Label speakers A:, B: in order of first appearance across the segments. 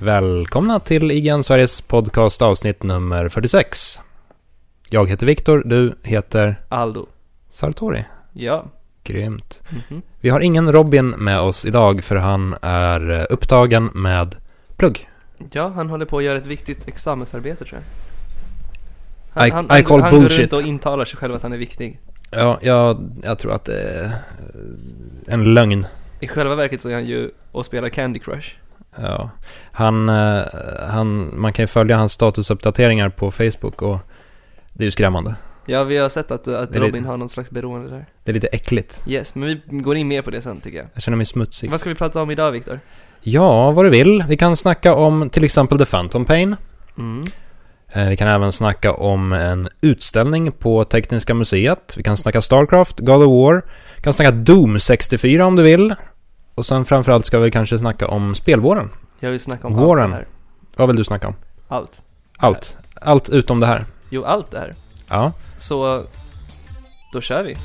A: Välkomna till IGN Sveriges podcast avsnitt nummer 46. Jag heter Viktor, du heter
B: Aldo.
A: Sartori.
B: Ja.
A: Grymt.
B: Mhm.
A: Vi har ingen Robin med oss idag för han är eh, upptagen med plugg.
B: Ja, han håller på att göra ett viktigt examensarbete tror jag.
A: I- I call
B: han går
A: bullshit.
B: runt och intalar sig själv att han är viktig.
A: Ja, jag, jag tror att det är en lögn.
B: I själva verket så är han ju och spelar Candy Crush.
A: Ja. Han, eh, han, man kan ju följa hans statusuppdateringar på Facebook och det är ju skrämmande.
B: Ja, vi har sett att, att
A: Det är
B: Robin har någon slags beroende där.
A: Det är lite äckligt.
B: Yes, men vi går in mer på det sen tycker jag.
A: Jag känner mig smutsig.
B: Vad ska vi prata om idag Viktor?
A: Ja, vad du vill. Vi kan snacka om till exempel The Phantom Pain.
B: Mm.
A: Eh, Vi kan även snacka om en utställning på Tekniska museet. Vi kan snacka Starcraft, God of War. Vi kan snacka Doom 64 om du vill. Och sen framförallt ska vi kanske snacka om spelvåren.
B: Jag vill snacka om
A: Warren.
B: allt det här.
A: Vad vill du snacka om?
B: Allt.
A: Allt. Allt utom det här.
B: Jo, allt det här.
A: Ja.
B: Så, då kör vi.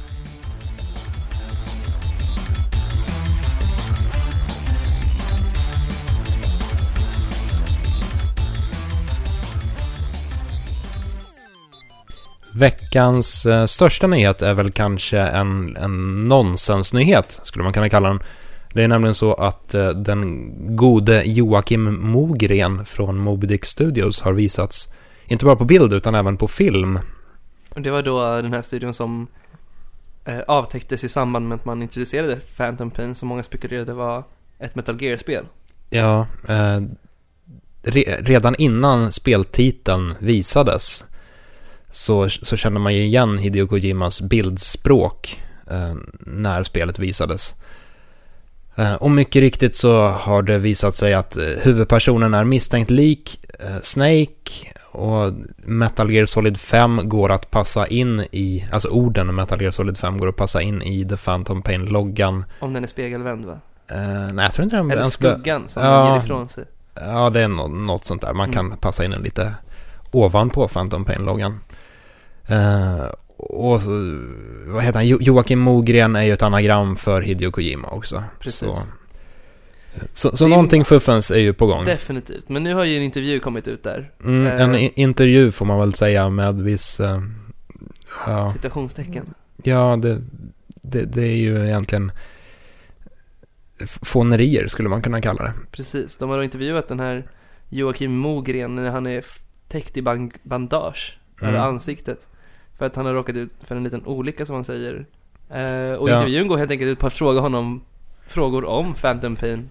A: Veckans eh, största nyhet är väl kanske en, en nonsensnyhet, skulle man kunna kalla den. Det är nämligen så att eh, den gode Joakim Mogren från Moby Dick Studios har visats, inte bara på bild utan även på film.
B: Och det var då den här studion som eh, avtäcktes i samband med att man introducerade Phantom Pain som många spekulerade var ett Metal Gear-spel.
A: Ja, eh, re, redan innan speltiteln visades så, så kände man ju igen Hideo Kojimas bildspråk eh, när spelet visades. Eh, och mycket riktigt så har det visat sig att eh, huvudpersonen är misstänkt lik eh, Snake och Metal Gear Solid 5 går att passa in i, alltså orden Metal Gear Solid 5 går att passa in i The Phantom Pain-loggan.
B: Om den är spegelvänd va?
A: Eh, nej, jag tror inte den
B: Eller
A: ens ska-
B: skuggan som
A: ja.
B: man ger ifrån sig.
A: Ja, det är nå- något sånt där. Man
B: Mm.
A: kan passa in den lite ovanpå Phantom Pain-loggan. Eh, och så, vad heter han? Jo, Joakim Mogren är ju ett anagram för Hideo Kojima också.
B: Precis.
A: Så, eh, så, så
B: Det är-
A: någonting fuffens är ju på gång.
B: Definitivt. Men nu har ju en intervju kommit ut där.
A: Mm, en i- intervju får man väl säga med viss... eh, ja,
B: Citationstecken.
A: ja det, det, det är ju egentligen f- fånerier skulle man kunna kalla det.
B: Precis. De har då intervjuat den här Joakim Mogren när han är f- täckt i ban- bandage
A: Mm.
B: över ansiktet. För att han har råkat ut för en liten olycka som han säger. Eh, och
A: Ja.
B: intervjun går helt enkelt ut på att fråga honom frågor om Phantom Pain.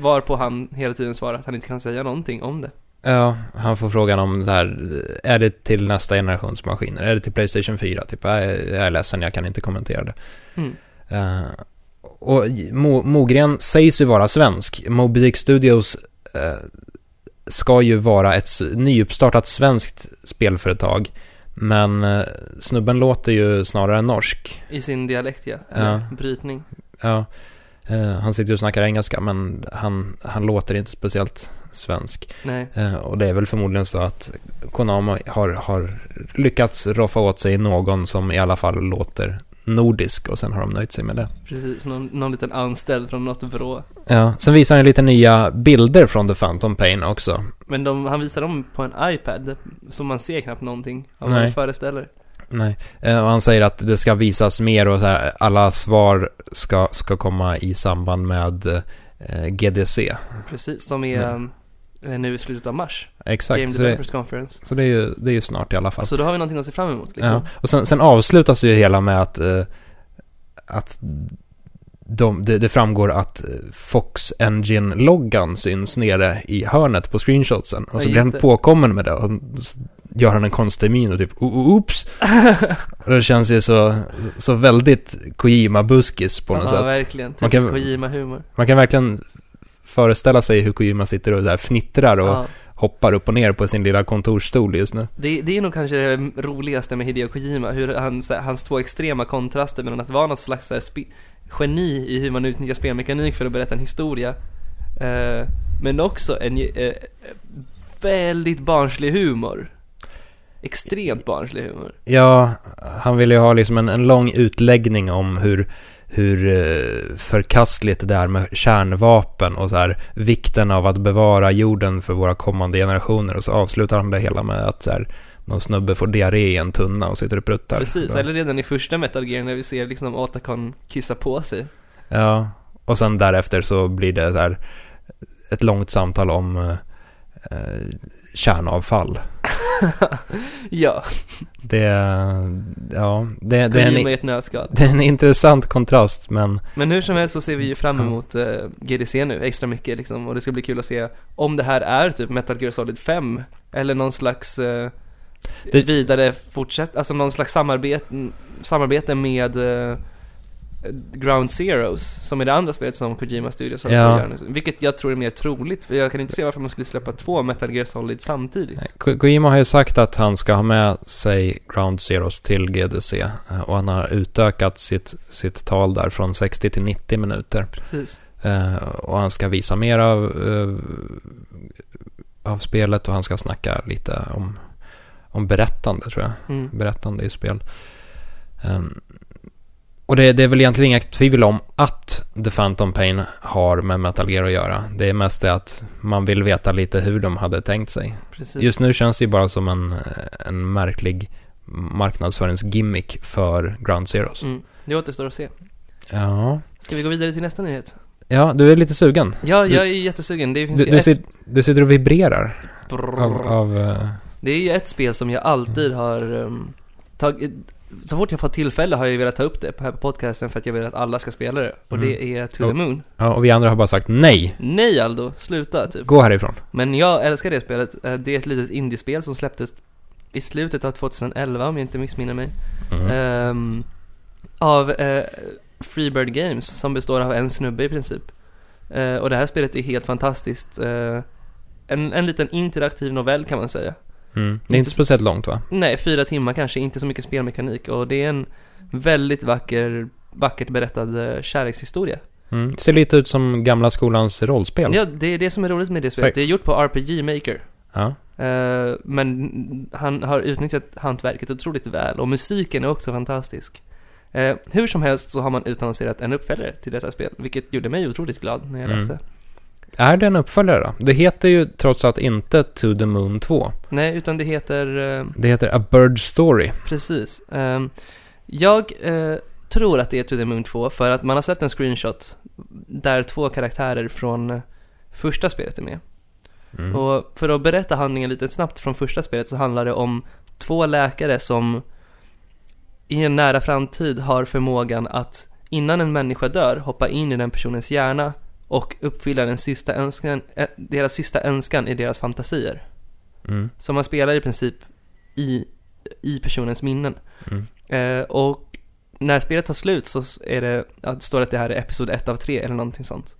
B: Varpå han hela tiden svarar att han inte kan säga någonting om det.
A: Ja, han får frågan om det här, är det till nästa generations maskiner? Är det till Playstation 4? Typ, jag är, jag är ledsen, jag kan inte kommentera det.
B: Mm.
A: Eh, och Mo, Mogren sägs ju vara svensk. Moby Dick Studios eh, ska ju vara ett s- nyuppstartat svenskt spelföretag, men eh, snubben låter ju snarare norsk.
B: I sin dialekt ja.
A: Ja.
B: Eller Brytning.
A: Ja, eh, han sitter ju och snackar engelska, men han, han låter inte speciellt svensk.
B: Nej.
A: Eh, Och det är väl förmodligen så att Konami har, har lyckats roffa åt sig någon som i alla fall låter nordisk och sen har de nöjt sig med det.
B: Precis, någon, någon liten anställd från något vrå.
A: Ja, Eh, sen visar han ju lite nya bilder från The Phantom Pain också.
B: Men de, han visar dem på en iPad, så man ser knappt någonting av vad
A: Nej.
B: de föreställer.
A: Nej. Eh, Och han säger att det ska visas mer och så här, alla svar ska, ska komma i samband med eh, GDC.
B: Precis, som är eh, nu i slutet av mars.
A: Exakt,
B: Game
A: så det,
B: Developers Conference.
A: så det är ju, det är ju snart i alla fall.
B: Så då har vi någonting att se fram emot liksom.
A: Ja. Och sen, sen avslutas ju hela med att, eh, att de, det, det framgår att eh, Fox Engine-loggan syns nere i hörnet på screenshotsen. Och så
B: Ja,
A: blir han
B: just det.
A: påkommen med det och s- gör han en konstig min och typ "O- o- oops. och det känns ju så, så väldigt Kojima-buskis på något
B: ja,
A: sätt.
B: verkligen.
A: Man
B: Typisk
A: kan-
B: Kojima-humor.
A: Man kan verkligen föreställa sig hur Kojima sitter och där fnittrar och
B: Ja.
A: hoppar upp och ner på sin lilla kontorsstol just nu.
B: Det, det är nog kanske det roligaste med Hideo Kojima, hur han, så här, hans två extrema kontraster mellan att vara något slags så här, spe, geni i hur man utnyttjar spelmekanik för att berätta en historia, eh, men också en eh, väldigt barnslig humor. Extremt barnslig humor.
A: Ja, han ville ju ha liksom en, en lång utläggning om hur hur eh, förkastligt det är med kärnvapen och så här, vikten av att bevara jorden för våra kommande generationer. Och så avslutar han det hela med att så här, någon snubbe får diarré i en tunna och sitter och pruttar.
B: Precis,
A: Då-
B: eller redan i första Metal Gear när vi ser liksom Otacon kissa på sig.
A: Ja, och sen därefter så blir det så här ett långt samtal om eh, eh, kärnavfall.
B: Ja,
A: Det, ja, det, det, är
B: Kojima
A: en,
B: i ett nötskal.
A: det är en intressant kontrast, men
B: Men hur som helst så ser vi ju fram emot eh, GDC nu extra mycket liksom och det ska bli kul att se om det här är typ Metal Gear Solid 5 eller någon slags eh,
A: Det-
B: vidare fortsätt, alltså någon slags samarbete, samarbete med eh, Ground Zeroes som är det andra spelet som Kojima Studios håller på
A: Ja.
B: att göra nu. Vilket jag tror är mer troligt för jag kan inte se varför man skulle släppa två Metal Gear Solid samtidigt.
A: Ko- Kojima har ju sagt att han ska ha med sig Ground Zeros till GDC eh, och han har utökat sitt, sitt tal där från 60 till 90 minuter.
B: Precis.
A: Eh, och han ska visa mer av, eh, av spelet och han ska snacka lite om, om berättande tror jag.
B: Mm.
A: berättande i spel. Ehm, och det, det är väl egentligen inga tvivel om att The Phantom Pain har med Metal Gear att göra. Det är mest det att man vill veta lite hur de hade tänkt sig.
B: Precis.
A: Just nu känns det ju bara som en, en märklig marknadsföringsgimmick för Ground Zeros.
B: Mm. Det återstår att se.
A: Ja.
B: Ska vi gå vidare till nästa nyhet?
A: ja, du är lite sugen.
B: Ja, jag är jättesugen. Det finns
A: Du,
B: ju
A: du,
B: ett...
A: sit, du sitter och vibrerar
B: Brrrr.
A: av... av eh,
B: Det är ju ett spel som jag alltid har ehm, tagit så fort jag fått tillfälle har jag ju velat ta upp det här på podcasten för att jag vill att alla ska spela det. Och
A: Mm.
B: det är To the
A: Och-
B: Moon.
A: ja, och vi andra har bara sagt nej,
B: Nej Aldo, sluta typ.
A: gå härifrån.
B: Men jag älskar det spelet. Eh, Det är ett litet indiespel som släpptes i slutet av 2011 om jag inte missminner mig.
A: Mm.
B: Ehm, av eh, Freebird Games som består av en snubbe i princip. Eh, och det här spelet är helt fantastiskt. Eh, en, en liten interaktiv novell kan man säga.
A: Mm. Det är inte speciellt långt va?
B: Nej, fyra timmar kanske, inte så mycket spelmekanik och det är en väldigt vacker, vackert berättad eh, kärlekshistoria.
A: Mm. Ser lite ut som gamla skolans rollspel.
B: Ja, det är det som är roligt med det spelet.
A: Säkert.
B: Det är gjort på RPG Maker.
A: Ja.
B: Eh, men han har utnyttjat hantverket otroligt väl och musiken är också fantastisk. Eh, hur som helst så har man utannonserat en uppföljare till detta spel, vilket gjorde mig otroligt glad när jag
A: Mm.
B: läste.
A: Är det en uppföljare då? Det heter ju trots allt inte To the Moon 2.
B: Nej, utan det heter... eh,
A: Det heter A Bird Story.
B: Precis. Ehm, jag eh, tror att det är To the Moon 2 för att man har sett en screenshot där två karaktärer från eh, första spelet är med.
A: Mm.
B: Och för att berätta handlingen lite snabbt från första spelet så handlar det om två läkare som i en nära framtid har förmågan att innan en människa dör hoppa in i den personens hjärna och uppfylla den sista önskan, eh, deras sista önskan i deras fantasier.
A: Mm.
B: Så man spelar i princip i, i personens minnen.
A: Mm.
B: Eh, och när spelet tar slut så är det, ja, det står det att det här är episod 1 av 3 eller någonting sånt.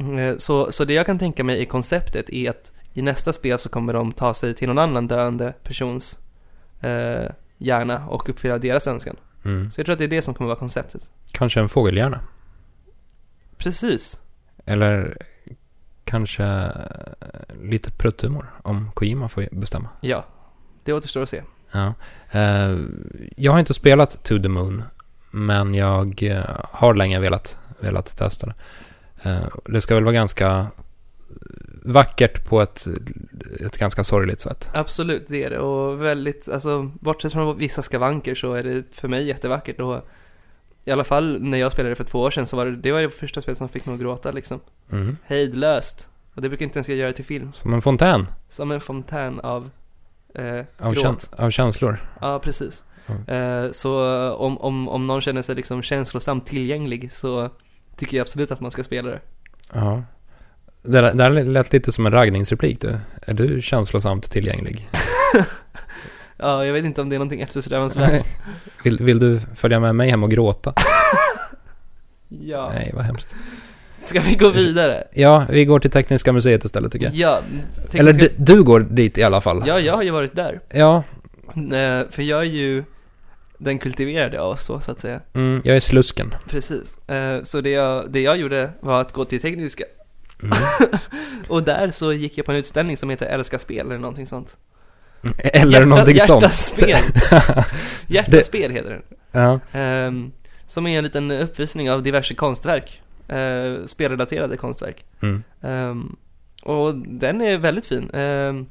B: Eh, så, så det jag kan tänka mig i konceptet är att i nästa spel så kommer de ta sig till någon annan döende persons eh, hjärna och uppfylla deras önskan.
A: Mm.
B: Så jag tror att det är det som kommer vara konceptet.
A: Kanske en fågelhjärna.
B: Precis.
A: Eller kanske eh, lite prutthumor om Kojima får bestämma.
B: Ja. Det återstår att se.
A: Ja. Eh, jag har inte spelat To the Moon, men jag eh, har länge velat, velat testa det. Eh, det ska väl vara ganska vackert på ett, ett ganska sorgligt sätt.
B: Absolut, det är det. Och väldigt, alltså bortsett från vissa skavanker så är det för mig jättevackert. Och I alla fall när jag spelade för två år sedan så var det, det var det första spelet som fick mig att gråta liksom.
A: Mm.
B: Hejdlöst. Och det brukar inte ens jag göra till film.
A: Som en fontän.
B: Som en fontän av eh,
A: Av,
B: gråt.
A: käns- av känslor.
B: Ja, precis.
A: Mm.
B: Eh, så om, om, om någon känner sig liksom känslosamt tillgänglig så tycker jag absolut att man ska spela det.
A: Ja. Det där, det där lät lite som en raggningsreplik du. Är du känslosamt tillgänglig?
B: Ja, jag vet inte om det är någonting eftersträvansvärt.
A: Vill, vill du följa med mig hem och gråta?
B: ja.
A: Nej, vad hemskt.
B: Ska vi gå vidare?
A: Ja, vi går till Tekniska museet istället tycker jag.
B: Ja.
A: Eller
B: tekniska-
A: du, du går dit i alla fall.
B: Ja, jag har ju varit där.
A: Ja,
B: Eh, För jag är ju den kultiverade av oss då, så att säga.
A: mm, jag är slusken.
B: Precis. Eh, Så det jag, det jag gjorde var att gå till Tekniska.
A: Mm.
B: Och där så gick jag på en utställning som heter Älska spel eller någonting sånt.
A: Eller någonting sånt.
B: Hjärtaspel. Hjärtaspel heter den.
A: Ja.
B: Ehm, Som är en liten uppvisning av diverse konstverk. Eh, spelrelaterade konstverk.
A: Mm.
B: Ehm, och den är väldigt fin. Ehm,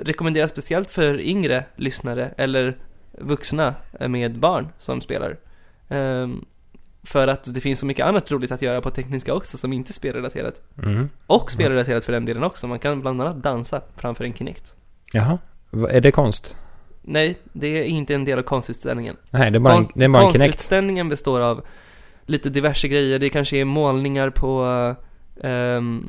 B: rekommenderas speciellt för yngre lyssnare eller vuxna med barn som spelar. Ehm, för att det finns så mycket annat roligt att göra på tekniska också som inte är spelrelaterat.
A: Mm.
B: Och spelrelaterat för den delen också. Man kan bland annat dansa framför en Kinect.
A: Jaha, Va- är det konst?
B: Nej, det är inte en del av konstutställningen.
A: Nej, det är bara, en, det är bara en Kinect.
B: Konstutställningen består av lite diverse grejer. Det kanske är målningar på... ehm,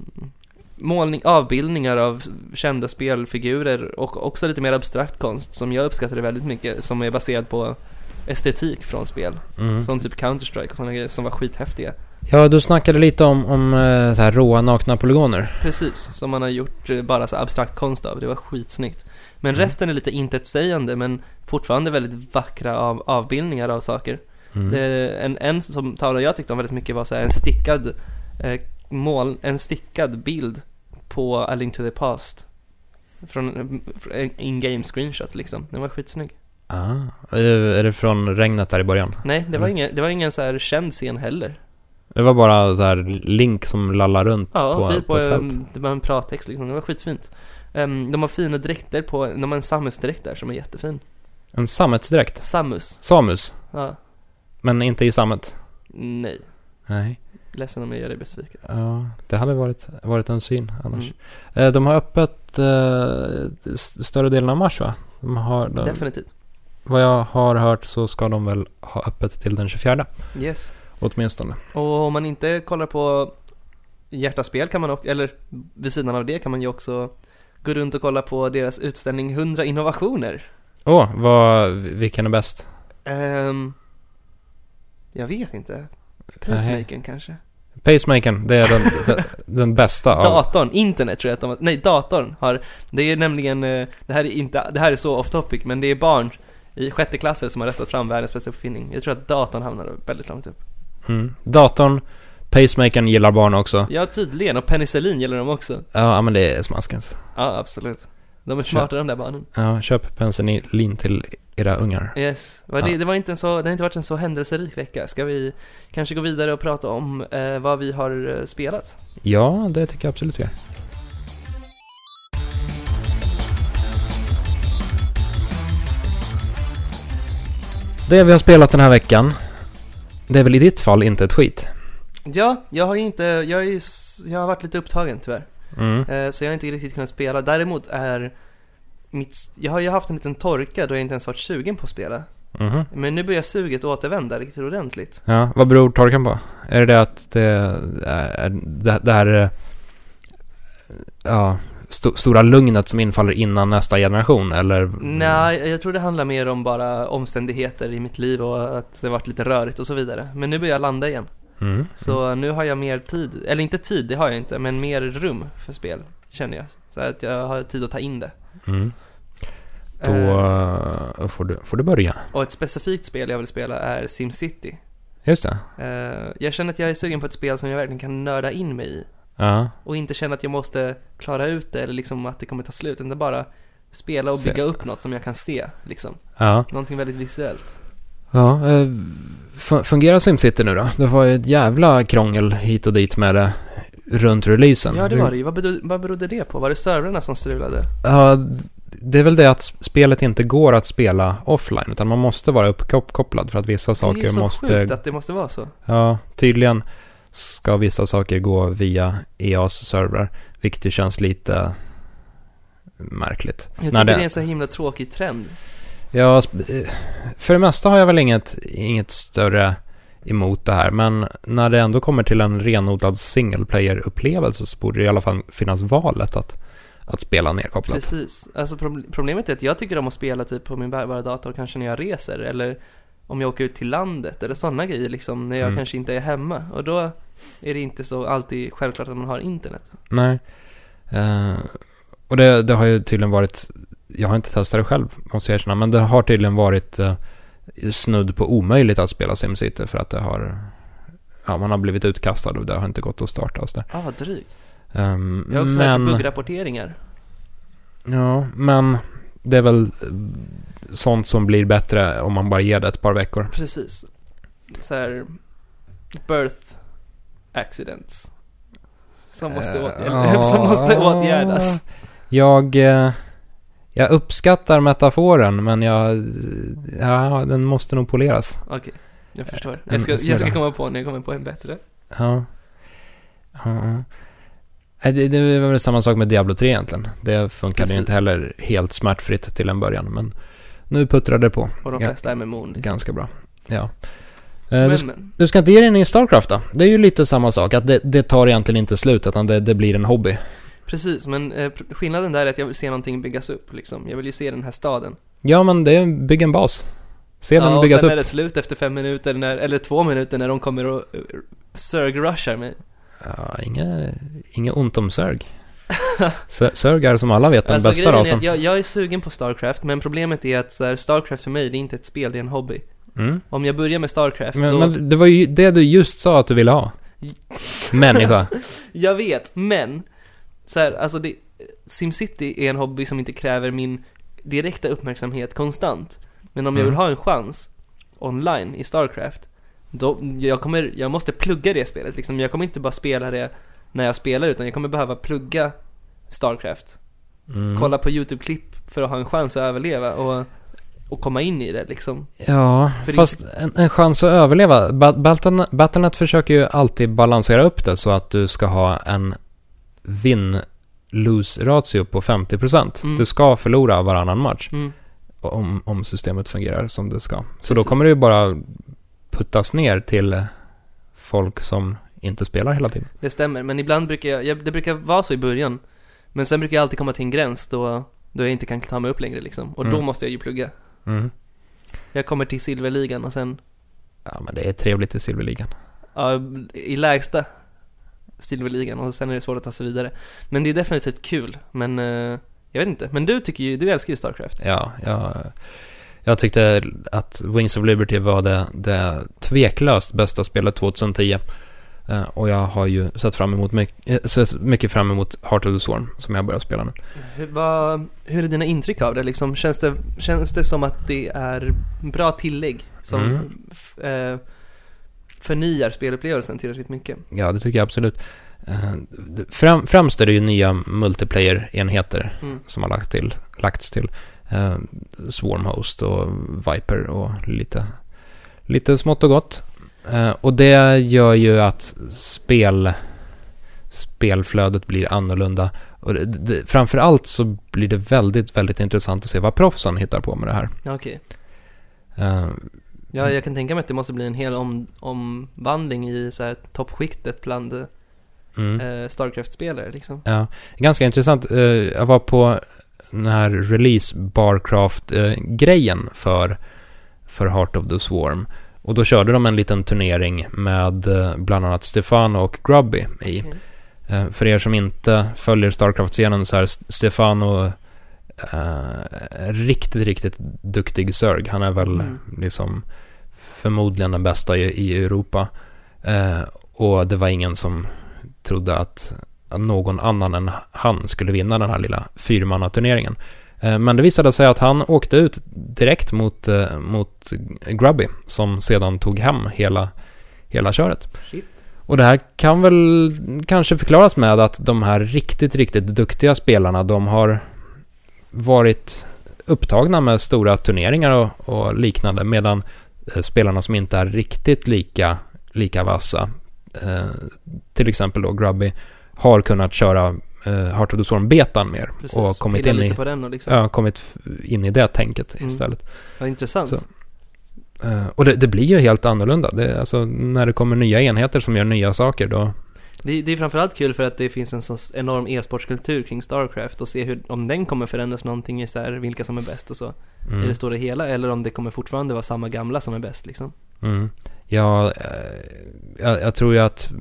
B: målning, avbildningar av kända spelfigurer och också lite mer abstrakt konst som jag uppskattade väldigt mycket som är baserad på estetik från spel.
A: Mm.
B: Som typ Counter-Strike och sådana grejer som var skithäftiga.
A: Ja, du snackade lite om, om eh, så här råa nakna polygoner.
B: Precis, som man har gjort eh, bara så abstrakt konst av. Det var skitsnyggt. Men
A: Mm.
B: resten är lite intetsägande men fortfarande väldigt vackra av, avbildningar av saker.
A: Mm.
B: Det är en, en som Taula och jag tyckte om väldigt mycket var så här en stickad eh, mål, en stickad bild på A Link to the Past. Från från en in-game screenshot liksom. Den var skitsnygg.
A: Ah. Eh, Är det från regnet där i början?
B: Nej, det var
A: Mm.
B: ingen, det var ingen så här känd scen heller.
A: Det var bara så här Link som lallar runt
B: Ja,
A: på,
B: typ.
A: på ett
B: och,
A: fält.
B: um, det var en prattext liksom. Det var skitfint. Ehm, de har fina dräkter på, de har en Samus-dräkt där som är jättefin.
A: En sammetsdräkt.
B: Samus.
A: Samus.
B: Ja.
A: Men inte i sammet.
B: Nej.
A: Nej.
B: Ledsen om jag gör dig besviken.
A: Ja, det hade varit, varit en syn annars.
B: Mm.
A: Eh, De har öppet eh, s- större delen av mars va? De har, de,
B: Mm. Definitivt.
A: vad jag har hört så ska de väl ha öppet till den 24
B: Yes.
A: åtminstone.
B: Och om man inte kollar på Hjärtaspel kan man också, eller vid sidan av det kan man ju också gå runt och kolla på deras utställning 100 innovationer.
A: Åh, vad, vilken är bäst?
B: Ehm, jag vet inte. Pacemakern kanske?
A: Pacemakern, det är den, den, den bästa av...
B: Datorn, internet tror jag att de Nej, datorn har, det är nämligen, eh, det här är inte, det här är så off topic, men det är barn i sjätte klasser som har röstat fram världens bästa uppfinning. Jag tror att datorn hamnar väldigt långt upp.
A: Mm. Datorn, pacemakern gillar barn också.
B: Ja, tydligen, och penicillin gäller de också.
A: Ja, men det är smaskens.
B: Ja, absolut. De är smarta de där barnen.
A: Ja, köp penicillin till era ungar.
B: Yes, Vad det,
A: Ja.
B: det, var inte en så, det har inte varit en så händelserik vecka. Ska vi kanske gå vidare och prata om eh, vad vi har eh, spelat?
A: Ja, det tycker jag absolut vi gör. Det vi har spelat den här veckan, det är väl i ditt fall inte ett skit?
B: Ja, jag har ju inte, jag, är, ju s- jag har varit lite upptagen tyvärr.
A: Mm.
B: Eh, så jag har inte riktigt kunnat spela. Däremot är mitt, jag har ju haft en liten torka då jag inte ens varit sugen på att spela.
A: Mhm.
B: Men nu börjar suget återvända riktigt ordentligt.
A: Ja, vad beror torkan på? Är det det att det, är, det, det här eh, ja, sto, stora lugnet som infaller innan nästa generation eller?
B: Nej, jag tror det handlar mer om bara omständigheter i mitt liv och att det varit lite rörigt och så vidare. Men nu börjar jag landa igen.
A: Mm.
B: Så nu har jag mer tid, eller inte tid, det har jag inte, men mer rum för spel känner jag. Så att jag har tid att ta in det.
A: Mm. Då
B: Eh,
A: eh, får, du, får du börja.
B: och ett specifikt spel jag vill spela är SimCity.
A: Just det.
B: Eh, jag känner att jag är sugen på ett spel som jag verkligen kan nörda in mig i.
A: Ja.
B: Och inte känna att jag måste klara ut det eller liksom att det kommer ta slut. Utan bara spela och
A: Se.
B: bygga upp något som jag kan se. Liksom.
A: Ja.
B: Någonting väldigt visuellt.
A: Ja, eh, fun- fungerar SimCity nu då? Det var ju ett jävla krångel hit och dit med det runt releasen.
B: Ja, det var det ju. Vad bedo- Vad berodde det på? Var det servrarna som strulade?
A: Ja, det är väl det att spelet inte går att spela offline, utan man måste vara uppkopplad för att vissa
B: det är ju
A: saker
B: så sjukt
A: måste...
B: att det måste vara så.
A: Ja, tydligen ska vissa saker gå via E EAs servrar, vilket ju känns lite märkligt.
B: Jag tycker
A: Nej,
B: det...
A: det-
B: är en så himla tråkig trend.
A: Ja, sp- eh, för det mesta har jag väl inget, inget större emot det här, men när det ändå kommer till en renodlad single player-upplevelse så borde det i alla fall finnas valet att, att spela nerkopplat.
B: Precis. Alltså proble- problemet är att jag tycker om att spela typ på min bärbara dator kanske när jag reser eller om jag åker ut till landet eller sådana grejer liksom när jag
A: Mm.
B: kanske inte är hemma. Och då är det inte så alltid självklart att man har internet.
A: Nej. Eh, och det, det har ju tydligen varit, jag har inte testat det själv måste jag erkänna, men det har tydligen varit eh, snudd på omöjligt att spela SimCity för att det har, ja man har blivit utkastad och det har inte gått att starta och sådär.
B: Ja, vad drygt.
A: Eh,
B: Jag har också hört
A: men,
B: buggrapporteringar.
A: ja, men det är väl eh, sånt som blir bättre om man bara ger det ett par veckor.
B: Precis. så här birth accidents. Som måste,
A: Eh,
B: åtgärdas, som måste
A: ja.
B: åtgärdas.
A: Jag, eh, jag uppskattar metaforen, men jag, ja, den måste nog poleras.
B: Okej, jag förstår.
A: en
B: Jag ska, jag ska
A: smula.
B: komma på när jag kommer på en bättre.
A: Ja. Ja, ja. Nej, Det, det var väl samma sak med Diablo 3 egentligen. Det funkade ju
B: Precis.
A: inte heller helt smärtfritt till en början, men nu puttrar det på
B: Och de
A: Ja.
B: flesta MMO'n. Liksom.
A: ganska bra. Ja. Eh, du,
B: Men,
A: ska-
B: men,
A: du ska inte ge dig in i Starcraft då? Det är ju lite samma sak, att det, det tar egentligen inte slut, utan det, det blir en hobby.
B: precis, men eh, pr- skillnaden där är att jag vill se någonting byggas upp liksom. Jag vill ju se den här staden.
A: Ja, men det är bygg en bas. Se den
B: Ja, och
A: byggas
B: sen
A: upp.
B: är det slut efter fem minuter, när, eller två minuter, när de kommer och eh, Zerg-rushar mig.
A: Ja, inget, inget ont om Sörg. Sö- Sörg är som alla vet den
B: Alltså,
A: bästa
B: grejen är
A: rasen.
B: att jag, jag är sugen på Starcraft, men problemet är att så här, Starcraft för mig, det är inte ett spel, det är en hobby.
A: Mm.
B: Om jag börjar med Starcraft,
A: Men,
B: då...
A: men det var ju det du just sa att du ville ha. Människa.
B: Jag vet, men... Så här, alltså det, Simcity är en hobby som inte kräver min direkta uppmärksamhet konstant. Men om jag
A: Mm.
B: vill ha en chans online i Starcraft, då, jag kommer, jag måste plugga det spelet liksom. Jag kommer inte bara spela det när jag spelar, utan jag kommer behöva plugga Starcraft.
A: Mm.
B: Kolla på YouTube-klipp för att ha en chans att överleva och, och komma in i det liksom.
A: Ja,
B: För det-
A: fast en, en chans att överleva. Ba- Battlen- Battlenet försöker ju alltid balansera upp det så att du ska ha en win-lose-ratio på 50%.
B: Mm.
A: Du ska förlora varannan match
B: Mm.
A: om, om systemet fungerar som det ska. Så då
B: Precis.
A: kommer det ju bara puttas ner till folk som inte spelar hela tiden.
B: Det stämmer, men ibland brukar jag, jag, det brukar vara så i början. Men sen brukar jag alltid komma till en gräns då, då jag inte kan ta mig upp längre liksom. Och då
A: Mm.
B: måste jag ju plugga.
A: Mm.
B: Jag kommer till silverligan och sen,
A: Ja, men det är trevligt i silverligan.
B: ja, i lägsta silverligan och sen är det svårt att ta sig vidare. Men det är definitivt kul, men eh, jag vet inte. Men du tycker ju, du älskar ju Starcraft.
A: Ja, jag, jag tyckte att Wings of Liberty var det, det tveklöst bästa spelet 2010. Eh, Och jag har ju sett fram emot mycket, eh, sett mycket fram emot Heart of the Swarm som jag börjar spela nu.
B: Hur, vad, hur är dina intryck av det liksom? Känns det, känns det som att det är bra tillägg som
A: Mm.
B: f, eh, förnyar spelupplevelsen tillräckligt mycket?
A: Ja, det tycker jag absolut. Eh, det- Fram, främst är det ju nya multiplayer-enheter
B: Mm.
A: som har lagt till, lagts till. Eh, Swarmhost och Viper och lite, lite smått och gott. Eh, och det gör ju att spel, spelflödet blir annorlunda. Och det, det, framförallt så blir det väldigt, väldigt intressant att se vad proffsen hittar på med det här.
B: Ja, Okej.
A: Eh,
B: Ja, jag kan tänka mig att det måste bli en hel om, omvandling i så här toppskiktet bland
A: mm.
B: eh, Starcraft-spelare liksom.
A: Ja, ganska intressant. Eh, Jag var på den här release Barcraft-grejen för, för Heart of the Swarm. Och då körde de en liten turnering med eh, bland annat Stefano och Grubby i.
B: Okej.
A: Eh, För er som inte följer Starcraft-scenen så är S- Stefano eh, riktigt, riktigt duktig Zerg. Han är väl
B: Mm.
A: liksom förmodligen den bästa i, i Europa. Eh, och det var ingen som trodde att någon annan än han skulle vinna den här lilla fyrmannaturneringen. Eh, Men det visade sig att han åkte ut direkt mot, eh, mot Grubby som sedan tog hem hela, hela köret.
B: Shit.
A: Och det här kan väl kanske förklaras med att de här riktigt, riktigt duktiga spelarna, de har varit upptagna med stora turneringar och, och liknande, medan eh, spelarna som inte är riktigt lika, lika vassa, eh, till exempel då Grubby, har kunnat köra eh, Heart of the Storm-betan mer
B: Precis.
A: och kommit
B: Pilla
A: in, i,
B: lite på den och liksom.
A: ja, kommit f- in i det tänket
B: Mm.
A: istället.
B: Ja, intressant.
A: Så. Eh, och det, det blir ju helt annorlunda. Det, alltså, när det kommer nya enheter som gör nya saker, då,
B: Det, det är framförallt kul för att det finns en så enorm e-sportskultur kring Starcraft och se hur, om den kommer förändras någonting i så här, vilka som är bäst och så.
A: mm.
B: I det stora hela, eller om det kommer fortfarande vara samma gamla som är bäst liksom.
A: Mm. Ja, eh, jag, jag tror ju att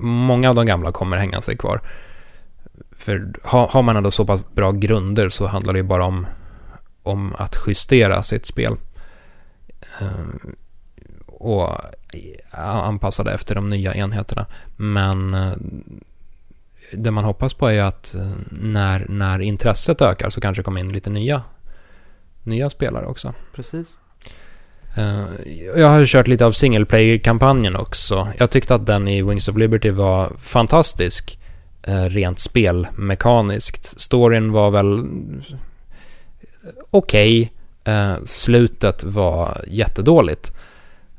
A: många av de gamla kommer hänga sig kvar. För har, har man ändå så pass bra grunder så handlar det ju bara om, om att justera sitt spel. Eh, och anpassa det efter de nya enheterna. Men eh, det man hoppas på är ju att eh, när, när intresset ökar så kanske det kommer in lite nya, nya spelare också.
B: Precis.
A: Eh, Jag har ju kört lite av single player-kampanjen också. Jag tyckte att den i Wings of Liberty var fantastisk, eh, rent spelmekaniskt. Storyn var väl okej, eh, slutet var jättedåligt.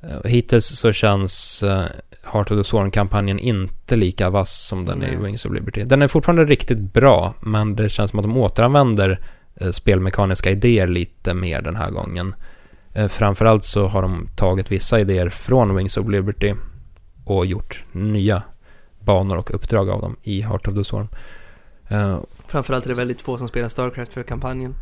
A: Eh, Hittills så känns eh, Heart of the Sworn-kampanjen inte lika vass som den är i
B: Nej.
A: Wings of Liberty. Den är fortfarande riktigt bra, men det känns som att de återanvänder eh, spelmekaniska idéer lite mer den här gången. Eh, Framförallt så har de tagit vissa idéer från Wings of Liberty och gjort nya banor och uppdrag av dem i Heart of the Storm. Eh,
B: Framförallt är det väldigt få som spelar Starcraft för kampanjen.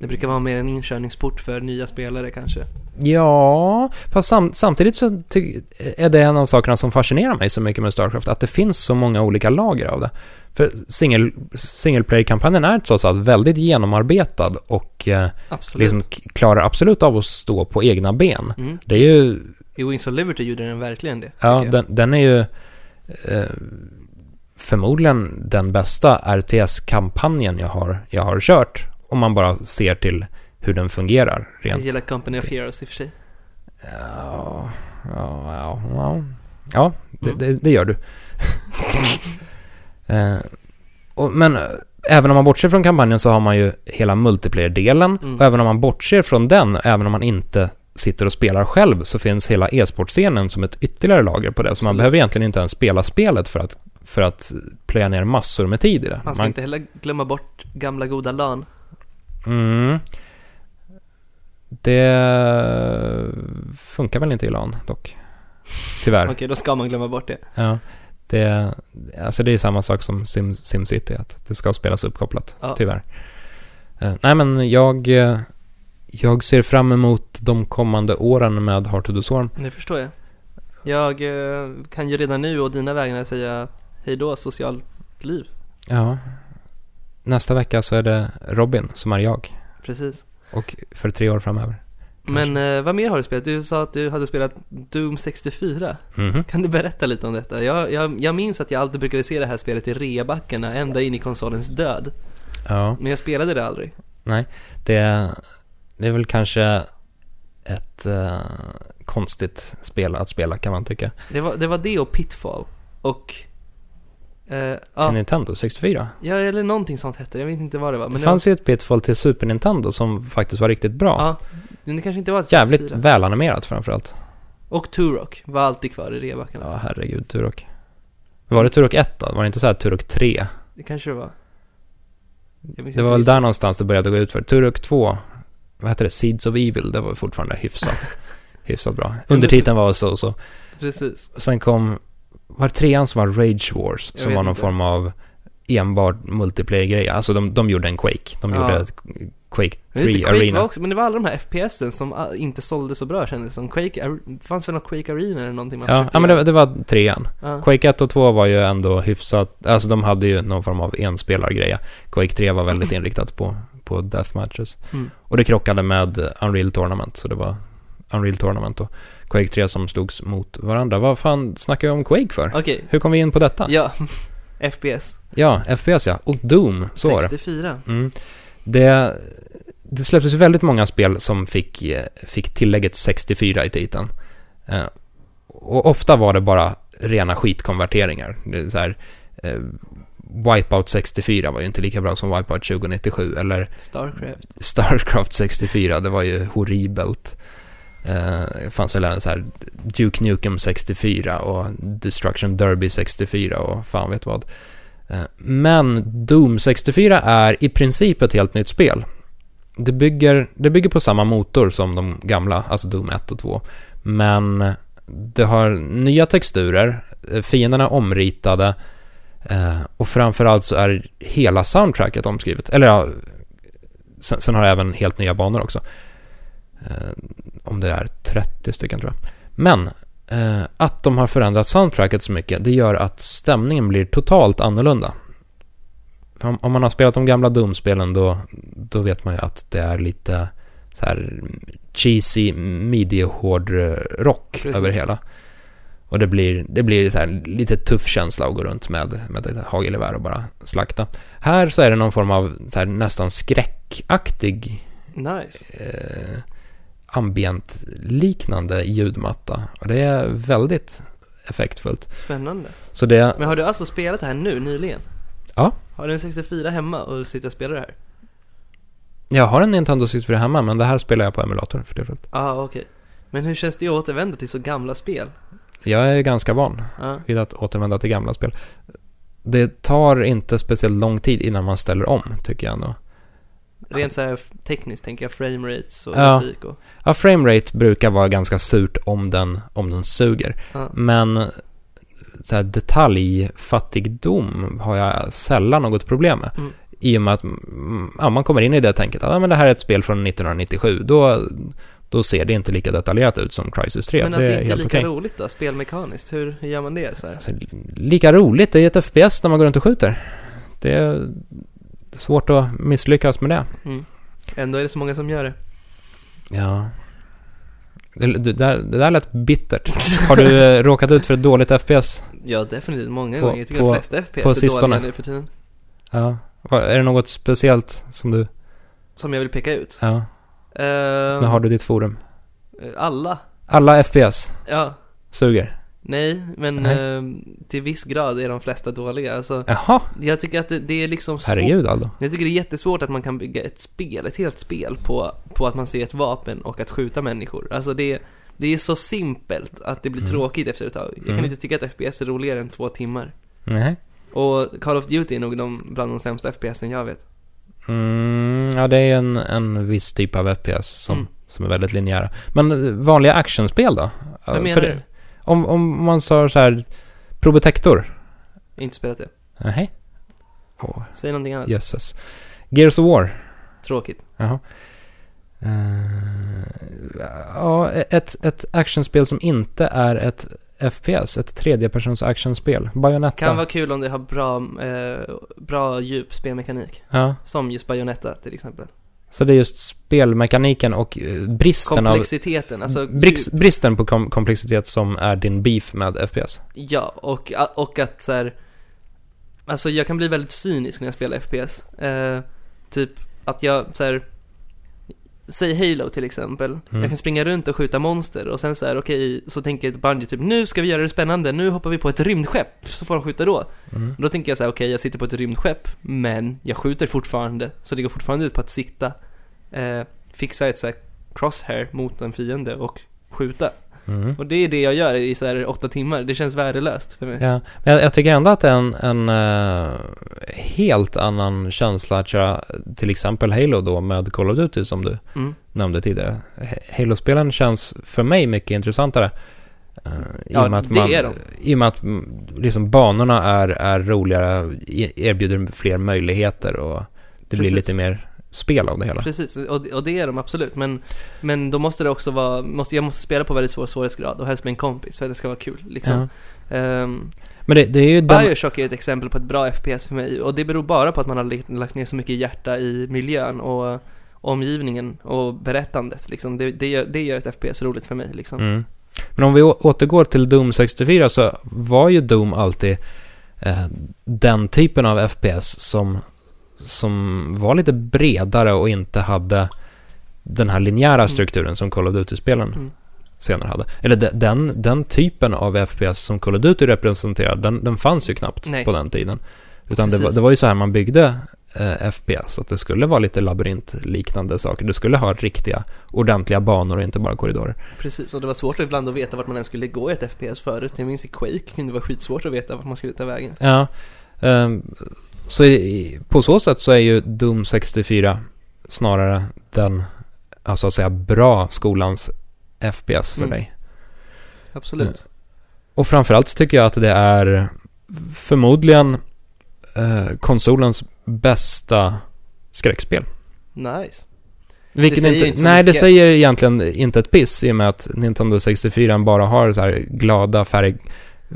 B: Det brukar vara mer en inkörningsport för nya spelare kanske.
A: Ja, fast sam samtidigt så ty- är det en av sakerna som fascinerar mig så mycket med Starcraft, att det finns så många olika lager av det. För single, single player-kampanjen är trots allt väldigt genomarbetad och eh,
B: Absolut.
A: liksom k- klarar absolut av att stå på egna ben.
B: Mm.
A: Det är ju
B: I Wings of Liberty gjorde den verkligen det.
A: Ja,
B: tycker jag.
A: den, den är ju eh, förmodligen den bästa RTS-kampanjen jag har, jag har kört. Om man bara ser till hur den fungerar
B: Jag
A: rent.
B: gillar Company of Heroes i och för sig.
A: Ja, ja, ja, ja. ja det,
B: Mm.
A: det, det gör du. eh, och, men eh, även om man bortser från kampanjen så har man ju hela multiplayer-delen.
B: Mm.
A: Och även om man bortser från den, även om man inte sitter och spelar själv, så finns hela e-sportscenen som ett ytterligare lager på det. Så man
B: Absolut.
A: behöver egentligen inte ens spela spelet för att, för att plöja ner massor med tid i det.
B: Man ska inte heller glömma bort gamla goda LAN.
A: mm, det funkar väl inte i LAN dock. Tyvärr.
B: Okej, då ska man glömma bort det.
A: Ja, det, alltså det är samma sak som Sim, SimCity, att det ska spelas uppkopplat,
B: Ja.
A: tyvärr. Eh, nej, men jag, eh, jag ser fram emot de kommande åren med Heart of the Storm.
B: Det förstår jag. Jag eh, kan ju redan nu och dina vägnar säga hej då socialt liv.
A: Ja. Nästa vecka så är det Robin som är jag
B: Precis.
A: och för tre år framöver.
B: Men eh, vad mer har du spelat? Du sa att du hade spelat Doom 64.
A: Mhm.
B: Kan du berätta lite om detta? Jag, jag, jag minns att jag alltid brukade se det här spelet i reabackarna ända in i konsolens död.
A: Ja,
B: Men jag spelade det aldrig.
A: det, det är väl kanske ett eh, konstigt spel att spela kan man tycka.
B: Det var det, var det och Pitfall. Och... Eh,
A: Till
B: ja,
A: Nintendo 64.
B: ja, eller någonting sånt hette det. Jag vet inte vad det var.
A: Det
B: Men det
A: fanns ju ett Pitfall till Super Nintendo som faktiskt var riktigt bra.
B: var, ja. men det kanske inte var ett
A: Jävligt
B: 64.
A: välanimerat framförallt.
B: Och Turok var alltid kvar i reabackarna.
A: Ja, herregud, Turok. Var det Turok 1 då? Var det inte så här Turok 3?
B: Det kanske det var. Jag minns
A: Det
B: inte
A: var väl
B: riktigt.
A: där någonstans det började gå ut för. Turok 2, vad heter det? Seeds of Evil, det var fortfarande hyfsat, hyfsat bra. Undertiteln var så och så.
B: Precis.
A: Sen kom, var det trean som var Rage Wars,
B: Jag
A: som
B: vet
A: var någon
B: inte.
A: form av enbart multiplayer-grej. Alltså de, de gjorde en Quake. De
B: Ja.
A: gjorde ett Quake
B: Men just
A: 3
B: det, Quake
A: Arena.
B: var också, men det var alla de här FPSen som ah, inte sålde så bra kändes det som. Quake, Ar- fanns väl någon Quake Arena eller någonting man
A: Ja,
B: försökte
A: ja, men
B: göra?
A: det, var- det var trean.
B: Ja.
A: Quake 1 och 2 var ju ändå hyfsat, alltså de hade ju någon form av enspelargreja. Quake 3 var väldigt inriktat på, på deathmatches.
B: Mm.
A: Och det krockade med Unreal Tournament, så det var Unreal Tournament och Quake 3 som slogs mot varandra. Vad fan snackar vi om Quake för?
B: Okej,
A: Hur kom vi in på detta? Ja,
B: ja. FPS.
A: FPS ja, och Doom, så var det.
B: 64.
A: Mm. Det, det släpptes ju väldigt många spel som fick, eh, fick tillägget 64 i titeln. Eh, Och ofta var det bara rena skitkonverteringar. Det är så här, eh, Wipeout 64 var ju inte lika bra som Wipeout 2097 eller
B: Starcraft.
A: Starcraft 64, det var ju horribelt. Eh, Det fanns väl även så här Duke Nukem 64 och Destruction Derby 64 och fan vet vad. Eh, Men Doom 64 är i princip ett helt nytt spel. Det bygger, det bygger på samma motor som de gamla, alltså Doom 1 och 2. Men det har nya texturer, eh, fienderna är omritade eh, och framförallt så är hela soundtracket omskrivet. Eller ja, Sen, sen har jag även helt nya banor också. Eh, om det är 30 stycken tror jag. Men eh, att de har förändrat soundtracket så mycket, det gör att stämningen blir totalt annorlunda. För Om, om man har spelat de gamla Doom-spelen då, då vet man ju att det är lite så här cheesy midi-hård eh, rock
B: Precis.
A: över hela. Och det blir, det blir så här lite tuff känsla att gå runt med, med ett hagelgevär och bara slakta. Här så är det någon form av så här, nästan skräckaktig
B: Nice.
A: eh, ambient-liknande ljudmatta. Och det är väldigt effektfullt.
B: Spännande.
A: Så det,
B: Men har du alltså spelat det här nu, nyligen?
A: Ja.
B: Har du en 64 hemma och sitter och spelar det här?
A: jag har en Nintendo 64 hemma, men det här spelar jag på emulatorn för tillfället.
B: Ja, ah, okej. Men hur känns det att återvända till så gamla spel? Ah,
A: Jag är ganska van
B: Ja.
A: vid att återvända till gamla spel. Det tar inte speciellt lång tid innan man ställer om, tycker jag ändå.
B: Rent så här f- tekniskt tänker jag, frame rates och
A: Ja.
B: grafik och...
A: Ja, framerate brukar vara ganska surt om den, om den suger.
B: Ja.
A: Men så här, detaljfattigdom har jag sällan något problem med.
B: Mm.
A: I och med att mm, ja, man kommer in i det tänket att ah, men det här är ett spel från 1997. Då, då ser det inte lika detaljerat ut som Crisis 3.
B: Men att
A: det är
B: inte är
A: helt
B: lika
A: okej.
B: roligt då, spelmekaniskt, hur hur gör man det så här?
A: Alltså, lika roligt, det är ett FPS när man går runt och skjuter. Det är svårt att misslyckas med det.
B: Mm. Ändå är det så många som gör det.
A: Ja. Det, det, där, det där lät bittert. Har du eh, råkat ut för ett dåligt FPS?
B: Ja, definitivt många
A: På-
B: gånger. Jag tycker
A: på-
B: de flesta FPS
A: på
B: är
A: sistone.
B: dåliga nu för tiden.
A: Ja. Vad- Är det något speciellt som du...
B: Som jag vill peka ut.
A: Ja.
B: Ehm,
A: Nu har du ditt forum.
B: Alla.
A: Alla FPS
B: Ja.
A: suger.
B: Nej, men
A: Nej.
B: ehm, till viss grad är de flesta dåliga. Alltså,
A: Jaha,
B: jag tycker att det, det är liksom svårt.
A: herregud Aldo.
B: Jag tycker det är jättesvårt att man kan bygga ett spel, ett helt spel på, på att man ser ett vapen och att skjuta människor. Alltså det, det är så simpelt att det blir
A: Mm.
B: tråkigt efter ett tag. Jag kan
A: Mm.
B: inte tycka att FPS är roligare än två timmar.
A: Nej.
B: Och Call of Duty är nog de, bland de sämsta FPSen jag vet.
A: Mm, ja, det är en, en viss typ av FPS som,
B: Mm.
A: som är väldigt linjära. Men eh, vanliga actionspel då? Ja,
B: Vad menar
A: för
B: du?
A: det- Om, om man sa så här, Probotector?
B: Jag har inte spelat det.
A: Nej. Åh,
B: Säg någonting annat.
A: jösses. Gears of War?
B: Tråkigt.
A: Jaha. Eh, ja, ett, ett actionspel som inte är ett FPS, ett tredjepersons actionspel. Bayonetta.
B: Kan vara kul om det har bra, eh, bra djup spelmekanik.
A: Ja,
B: Som just Bayonetta till exempel.
A: så det är just spelmekaniken och eh, bristen av... Mm.
B: Komplexiteten, alltså.
A: Brix, bristen på kom, komplexitet som är din beef med FPS.
B: Ja, och, och att så här, Alltså jag kan bli väldigt cynisk när jag spelar FPS. Eh, typ att jag så här. Säg Halo till exempel.
A: Mm.
B: Jag kan springa runt och skjuta monster och sen så här, okej, så tänker Bungie typ nu ska vi göra det spännande, nu hoppar vi på ett rymdskepp så får de skjuta då.
A: Mm.
B: Då tänker jag så här, okej jag sitter på ett rymdskepp, men jag skjuter fortfarande, så det går fortfarande ut på att sikta, eh, fixa ett så här crosshair mot en fiende och skjuta.
A: Mm.
B: Och det är det jag gör i så här åtta timmar, det känns värdelöst för mig.
A: Ja, men jag, jag tycker ändå att det är en, en eh, helt annan känsla att köra till exempel Halo då med Call of Duty som du
B: Mm.
A: nämnde tidigare. H- Halo-spelen känns för mig mycket intressantare. eh,
B: Ja,
A: i och med att
B: det
A: man,
B: är de.
A: I och med att mm, liksom, banorna är, är roligare, e- erbjuder fler möjligheter och det blir
B: Precis.
A: lite mer spel av det hela.
B: Precis, och, och det är de absolut, men, men då måste det också vara, måste, jag måste spela på väldigt svår svårighetsgrad och helst med en kompis för att det ska vara kul liksom.
A: Ja.
B: Ehm,
A: Men det, det är ju den...
B: Bioshock är ett exempel på ett bra FPS för mig och det beror bara på att man har lagt- lagt ner så mycket hjärta i miljön och omgivningen och berättandet liksom. det, det, gör, det gör ett FPS roligt för mig liksom.
A: Mm. Men om vi å- återgår till Doom 64 så var ju Doom alltid eh, den typen av FPS som, som var lite bredare och inte hade den här linjära strukturen som Call of Duty-spelen
B: Mm.
A: senare hade. Eller de- den, den typen av FPS som Call of Duty representerar, den, den fanns ju knappt
B: Nej.
A: på den tiden. Utan det var,
B: Precis.
A: det var ju så här man byggde eh, FPS, att det skulle vara lite labyrintliknande saker. Det skulle ha riktiga, ordentliga banor och inte bara korridorer.
B: Precis, och det var svårt ibland att veta vart man ens skulle gå i ett FPS förut. Jag minns i Quake kunde det vara skitsvårt att veta vart man skulle ta vägen.
A: Ja. ehm, så i- i, på så sätt så är ju Doom 64 snarare den, alltså att säga, bra skolans FPS för
B: Mm.
A: dig.
B: Absolut.
A: Och framförallt tycker jag att det är förmodligen eh, konsolens bästa skräckspel.
B: Nice.
A: Vilket
B: säger
A: inte,
B: inte så
A: nej, det
B: mycket.
A: säger egentligen inte ett piss i och med att Nintendo 64 bara har så här glada färg,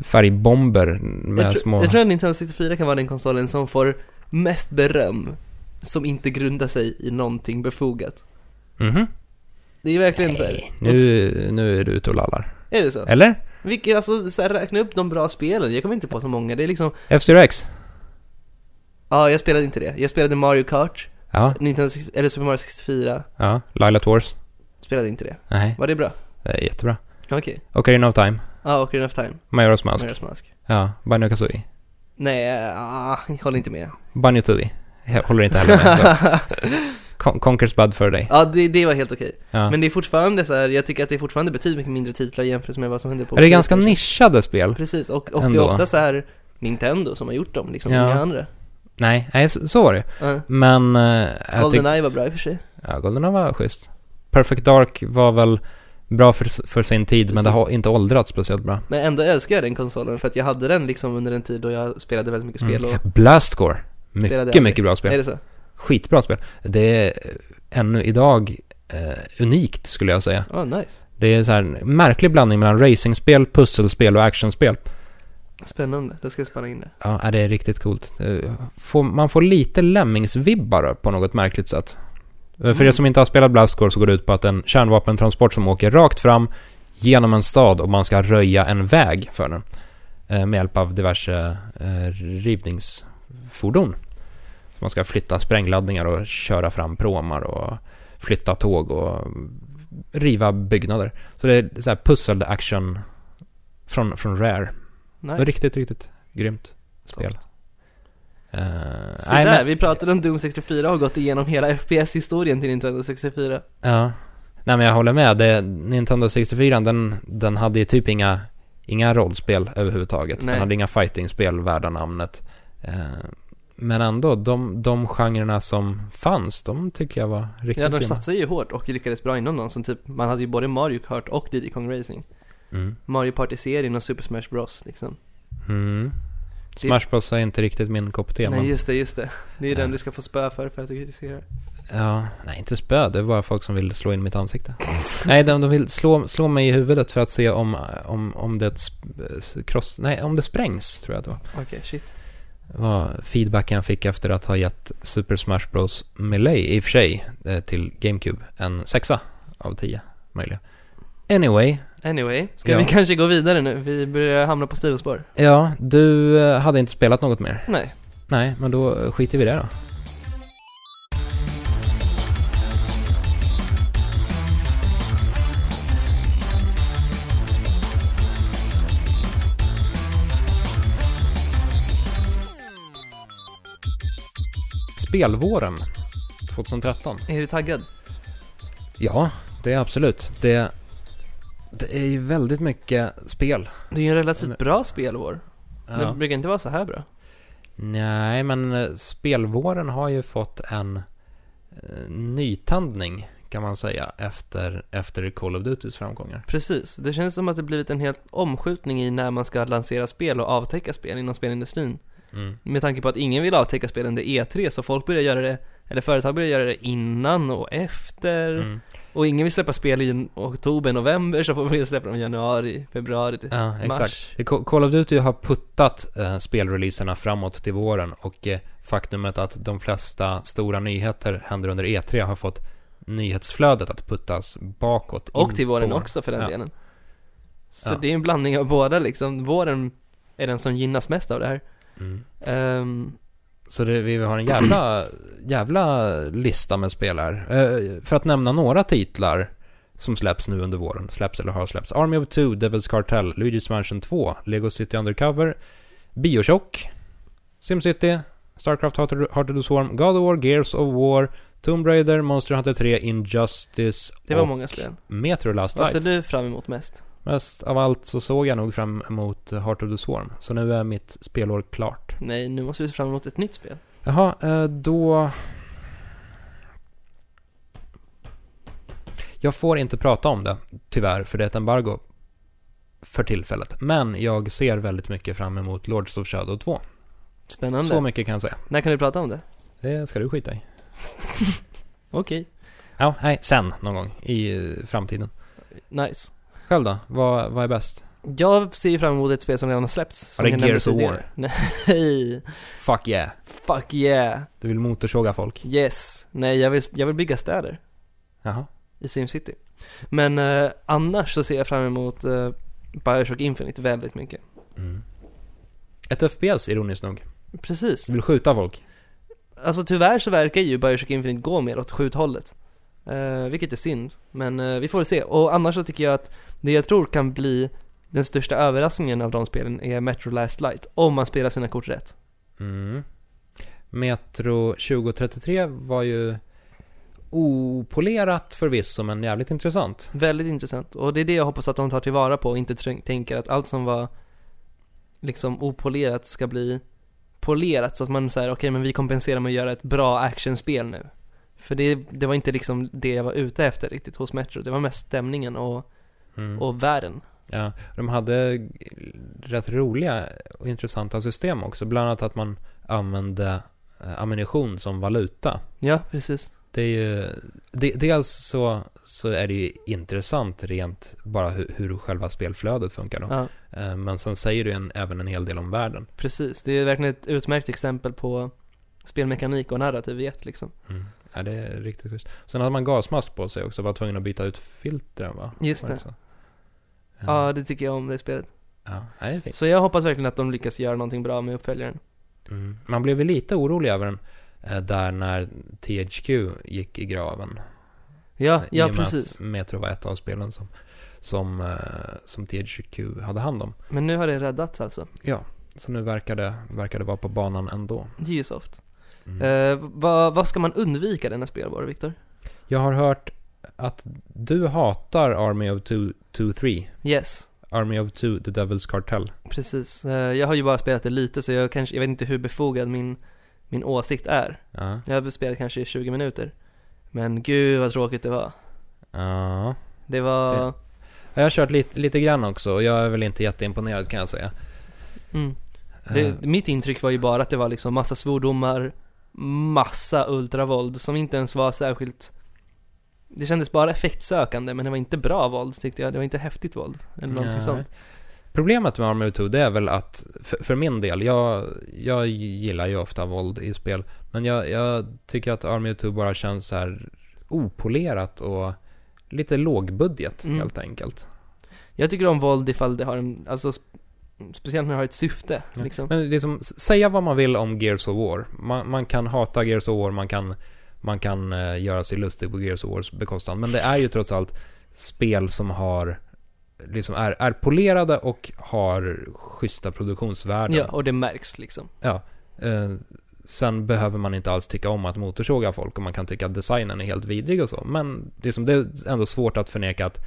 A: färgbomber med
B: jag, tr-
A: små...
B: jag tror att Nintendo 64 kan vara den konsolen som får mest beröm som inte grundar sig i någonting befogat.
A: Mhm.
B: Det är verkligen så här.
A: Nej, nu, nu är du ute och lallar.
B: Är det så?
A: Eller?
B: Vilka, alltså så här, räkna upp de bra spelen, jag kommer inte på så många. Det är liksom,
A: F-Zero X?
B: ja jag spelade inte det. Jag spelade Mario Kart,
A: Ja,
B: Nintendo 60, eller Super Mario 64,
A: ja. Lilat Wars?
B: Spelade inte det.
A: Nej,
B: Var det bra?
A: det är jättebra.
B: Ja, Okej.
A: Ocarina of Time,
B: Ja, och Ocarina of Time.
A: Majoras Mask,
B: Majora's Mask.
A: ja, Banjo Kazooie.
B: Nej, ah, jag håller inte med.
A: Banjo Tooie. Jag håller inte heller med. Con- Conker's Bad för dig.
B: ja, det, det var helt okej.
A: Ja.
B: Men det är fortfarande så här, jag tycker att det är fortfarande betydligt mycket mindre titlar jämfört med vad som hände på
A: är det ganska
B: Playstation.
A: nischade spel?
B: Precis, och, och det är
A: Ändå.
B: ofta så här Nintendo som har gjort dem, liksom,
A: Ja.
B: inga andra.
A: Nej, nej så, så var det.
B: Ja.
A: Men... eh, jag tyck-
B: Goldeneye var bra i och för sig.
A: ja, Goldeneye var schysst. Perfect Dark var väl bra för, för sin tid, men det
B: Precis.
A: har inte åldrats speciellt bra.
B: Men ändå älskar jag den konsolen för att jag hade den liksom under en tid då jag spelade väldigt mycket spel och...
A: Mm. Blastcore.
B: Spelade
A: Mycket,
B: aldrig.
A: mycket bra
B: Är
A: spel.
B: det så?
A: Skitbra spel. Det är eh, ännu idag eh, unikt, skulle jag säga.
B: Ja, nice.
A: Det är så här en märklig blandning mellan racingspel, pusselspel och actionspel.
B: Spännande, jag ska spana in det.
A: Ja, är det är riktigt coolt. Eh, Får, man får lite Lemmings-vibbar på något märkligt sätt. Eh, För er som inte har spelat Blastcore så går det ut på att en kärnvapentransport som åker rakt fram genom en stad och man ska röja en väg för den. eh, Med hjälp av diverse eh, rivningsfordon. Så man ska flytta sprängladdningar och köra fram pråmar och flytta tåg och riva byggnader. Så det är så här pussel action från, från Rare. Det
B: Nice.
A: var Riktigt, riktigt grymt spel.
B: Soft.
A: Eh,
B: Så
A: nej,
B: där,
A: men,
B: vi pratade om Doom 64 och har gått igenom hela FPS-historien till Nintendo 64.
A: ja. nej, men jag håller med. Det, Nintendo 64, den, den hade ju typ inga, inga rollspel överhuvudtaget.
B: Nej.
A: Den hade inga fightingspel värda namnet. Eh, men ändå, de, de genrerna som fanns, de tycker jag var riktigt
B: Ja, de
A: grymma.
B: satsade ju hårt och lyckades bra inom dem, som typ, man hade ju både Mario Kart och Diddy Kong Racing.
A: Mm.
B: Mario Party-serien och Super Smash Bros liksom.
A: Mm. Smash Bros är inte riktigt min kopp te,
B: Nej,
A: men...
B: just det, just det. Det är ju
A: Ja.
B: den du ska få spö för, för att du kritiserar.
A: Ja, nej, inte spö. Det var folk som ville slå in mitt ansikte. nej, de, de vill slå, slå mig i huvudet för att se om, om, om det... sp- s- Cross, nej, om det sprängs, tror jag att det var.
B: Okej, shit.
A: var feedbacken jag fick efter att ha gett Super Smash Bros Melee, i och för sig, eh, till GameCube en sexa av tio möjliga. Anyway,
B: Anyway, ska
A: Ja.
B: vi kanske gå vidare nu? Vi börjar hamna på sidospår.
A: ja, du eh, hade inte spelat något mer.
B: Nej.
A: Nej, men då eh, skiter vi i det då. Spelvåren 2013.
B: Är du taggad?
A: Ja, det är absolut. Det, det är ju väldigt mycket spel. Eh,
B: Det är ju en relativt bra spelvår. Det
A: Ja.
B: brukar inte vara så här bra.
A: Nej, men eh, spelvåren har ju fått en eh, nytändning kan man säga efter, efter Call of Dutys framgångar.
B: Precis, det känns som att det blivit en helt omskjutning i när man ska lansera spel och avtäcka spel inom spelindustrin.
A: Mm.
B: Med tanke på att ingen vill avtäcka spel under E3 så folk börjar göra det, eller företag börjar göra det innan och efter.
A: Mm.
B: Och ingen vill släppa spel i oktober, november så får vi släppa dem i januari, februari,
A: Ja, exakt.
B: mars.
A: Det- Call of Duty har puttat eh, spelreleaserna framåt till våren och eh, faktumet att de flesta stora nyheter händer under E3 har fått nyhetsflödet att puttas bakåt.
B: Och
A: in
B: till våren
A: Mm, på-
B: också för den
A: Ja.
B: delen. Så
A: Ja.
B: det är en blandning av båda liksom. Våren är den som gynnas mest av det här.
A: Mm.
B: Ehm,
A: Så det, vi har en jävla, jävla lista med spel här. Eh, för att nämna några titlar som släpps nu under våren, släpps eller har släppts. Army of Two, Devil's Cartel, Luigi's Mansion 2, Lego City Undercover, Bioshock, SimCity, Starcraft Heart of the Swarm, God of War, Gears of War, Tomb Raider, Monster Hunter 3, Injustice
B: det var
A: och
B: många spel.
A: Metro Last
B: Vad
A: Light.
B: ser du fram emot mest?
A: Mest av allt så såg jag nog fram emot Heart of the Swarm, så nu är mitt spelår klart.
B: Nej, nu måste vi se fram emot ett nytt spel.
A: Jaha, eh, då... Jag får inte prata om det, tyvärr, för det är ett embargo för tillfället. Men jag ser väldigt mycket fram emot Lords of Shadow 2.
B: Spännande.
A: Så mycket kan jag säga.
B: När kan du prata om det?
A: Det ska du skita i.
B: Okej,
A: Ja, nej, sen någon gång i eh, framtiden.
B: nice.
A: Själv då? Vad, vad är bäst?
B: Jag ser ju fram emot ett spel som redan har släppts. som
A: det är
B: jag nämnde
A: Gears of
B: tidigare.
A: War.
B: Nej,
A: Fuck yeah.
B: fuck yeah,
A: Du vill motorsåga folk?
B: yes. Nej, jag vill, jag vill bygga städer.
A: Jaha.
B: i SimCity. Men eh, annars så ser jag fram emot eh, Bioshock Infinite väldigt mycket.
A: Mm. Ett FPS, ironiskt nog.
B: Precis.
A: Du vill skjuta folk?
B: Alltså tyvärr så verkar ju Bioshock Infinite gå mer åt skjuthållet. Eh, vilket är synd, men eh, vi får väl se. Och annars så tycker jag att det jag tror kan bli den största överraskningen av de spelen är Metro Last Light, om man spelar sina kort rätt.
A: Mm. Metro 2033 var ju opolerat förvisso, men jävligt intressant.
B: Väldigt intressant, och det är det jag hoppas att de tar tillvara på och inte tr- tänker att allt som var liksom opolerat ska bli polerat så att man säger okej men vi kompenserar med att göra ett bra actionspel nu. För det, det var inte liksom det jag var ute efter riktigt hos Metro, det var mest stämningen och,
A: Mm.
B: och världen.
A: Ja, de hade rätt roliga och intressanta system också. Bland annat att man använde eh, ammunition som valuta.
B: Ja, precis.
A: Det är ju, de, dels så, så är det ju intressant rent bara hur, hur själva spelflödet funkar då.
B: Ja.
A: Eh, Men sen säger det ju en, även en hel del om världen.
B: Precis, det är verkligen ett utmärkt exempel på spelmekanik och narrativ i ett liksom.
A: Mm. Ja, det är riktigt schysst. Sen hade man gasmask på sig också, var tvungen att byta ut filtren va?
B: Just
A: Var
B: det.
A: så? Eh,
B: Ja, det tycker jag om det spelet.
A: Ja, det är fint.
B: Så jag hoppas verkligen att de lyckas göra någonting bra med uppföljaren.
A: Mm. Man blev ju lite orolig över den eh, där när THQ gick i graven. eh,
B: Ja,
A: I
B: ja
A: och med
B: precis.
A: att Metro var ett av spelen som, som, eh, som THQ hade hand om.
B: Men nu har det räddats alltså.
A: Ja, så nu verkar det, verkar det vara på banan ändå.
B: Det är ju soft.
A: Mm.
B: Eh, vad, vad ska man undvika denna spelvara, Viktor?
A: Jag har hört att du hatar Army of 2-3.
B: Yes,
A: Army of 2, The Devil's Cartel.
B: precis. Eh, jag har ju bara spelat det lite så jag kanske, jag vet inte hur befogad min, min åsikt är.
A: Ja.
B: Jag har spelat kanske i 20 minuter. Men gud vad tråkigt det var.
A: ja.
B: Det var...
A: Jag har kört lite, lite grann också och jag är väl inte jätteimponerad kan jag säga.
B: Mm.
A: Eh,
B: Det, mitt intryck var ju bara att det var liksom massa svordomar, massa ultravåld som inte ens var särskilt det kändes bara effektsökande men det var inte bra våld tyckte jag, det var inte häftigt våld eller någonting
A: Nej.
B: sånt.
A: Problemet med Army of 2 det är väl att, för, för min del, jag, jag gillar ju ofta våld i spel, men jag, jag tycker att Army of 2 bara känns så här opolerat och lite lågbudget
B: Mm.
A: helt enkelt.
B: Jag tycker om våld ifall det har en, alltså sp- speciellt när det har ett syfte liksom.
A: Men liksom, s- säga vad man vill om Gears of War. Man, man kan hata Gears of War, man kan, man kan eh, göra sig lustig på Gears of Wars bekostnad, men det är ju trots allt spel som har liksom är, är polerade och har schyssta produktionsvärden.
B: Ja, och det märks liksom.
A: Eh, sen behöver man inte alls tycka om att motorsåga folk och man kan tycka att designen är helt vidrig och så. Men liksom, det är ändå svårt att förneka att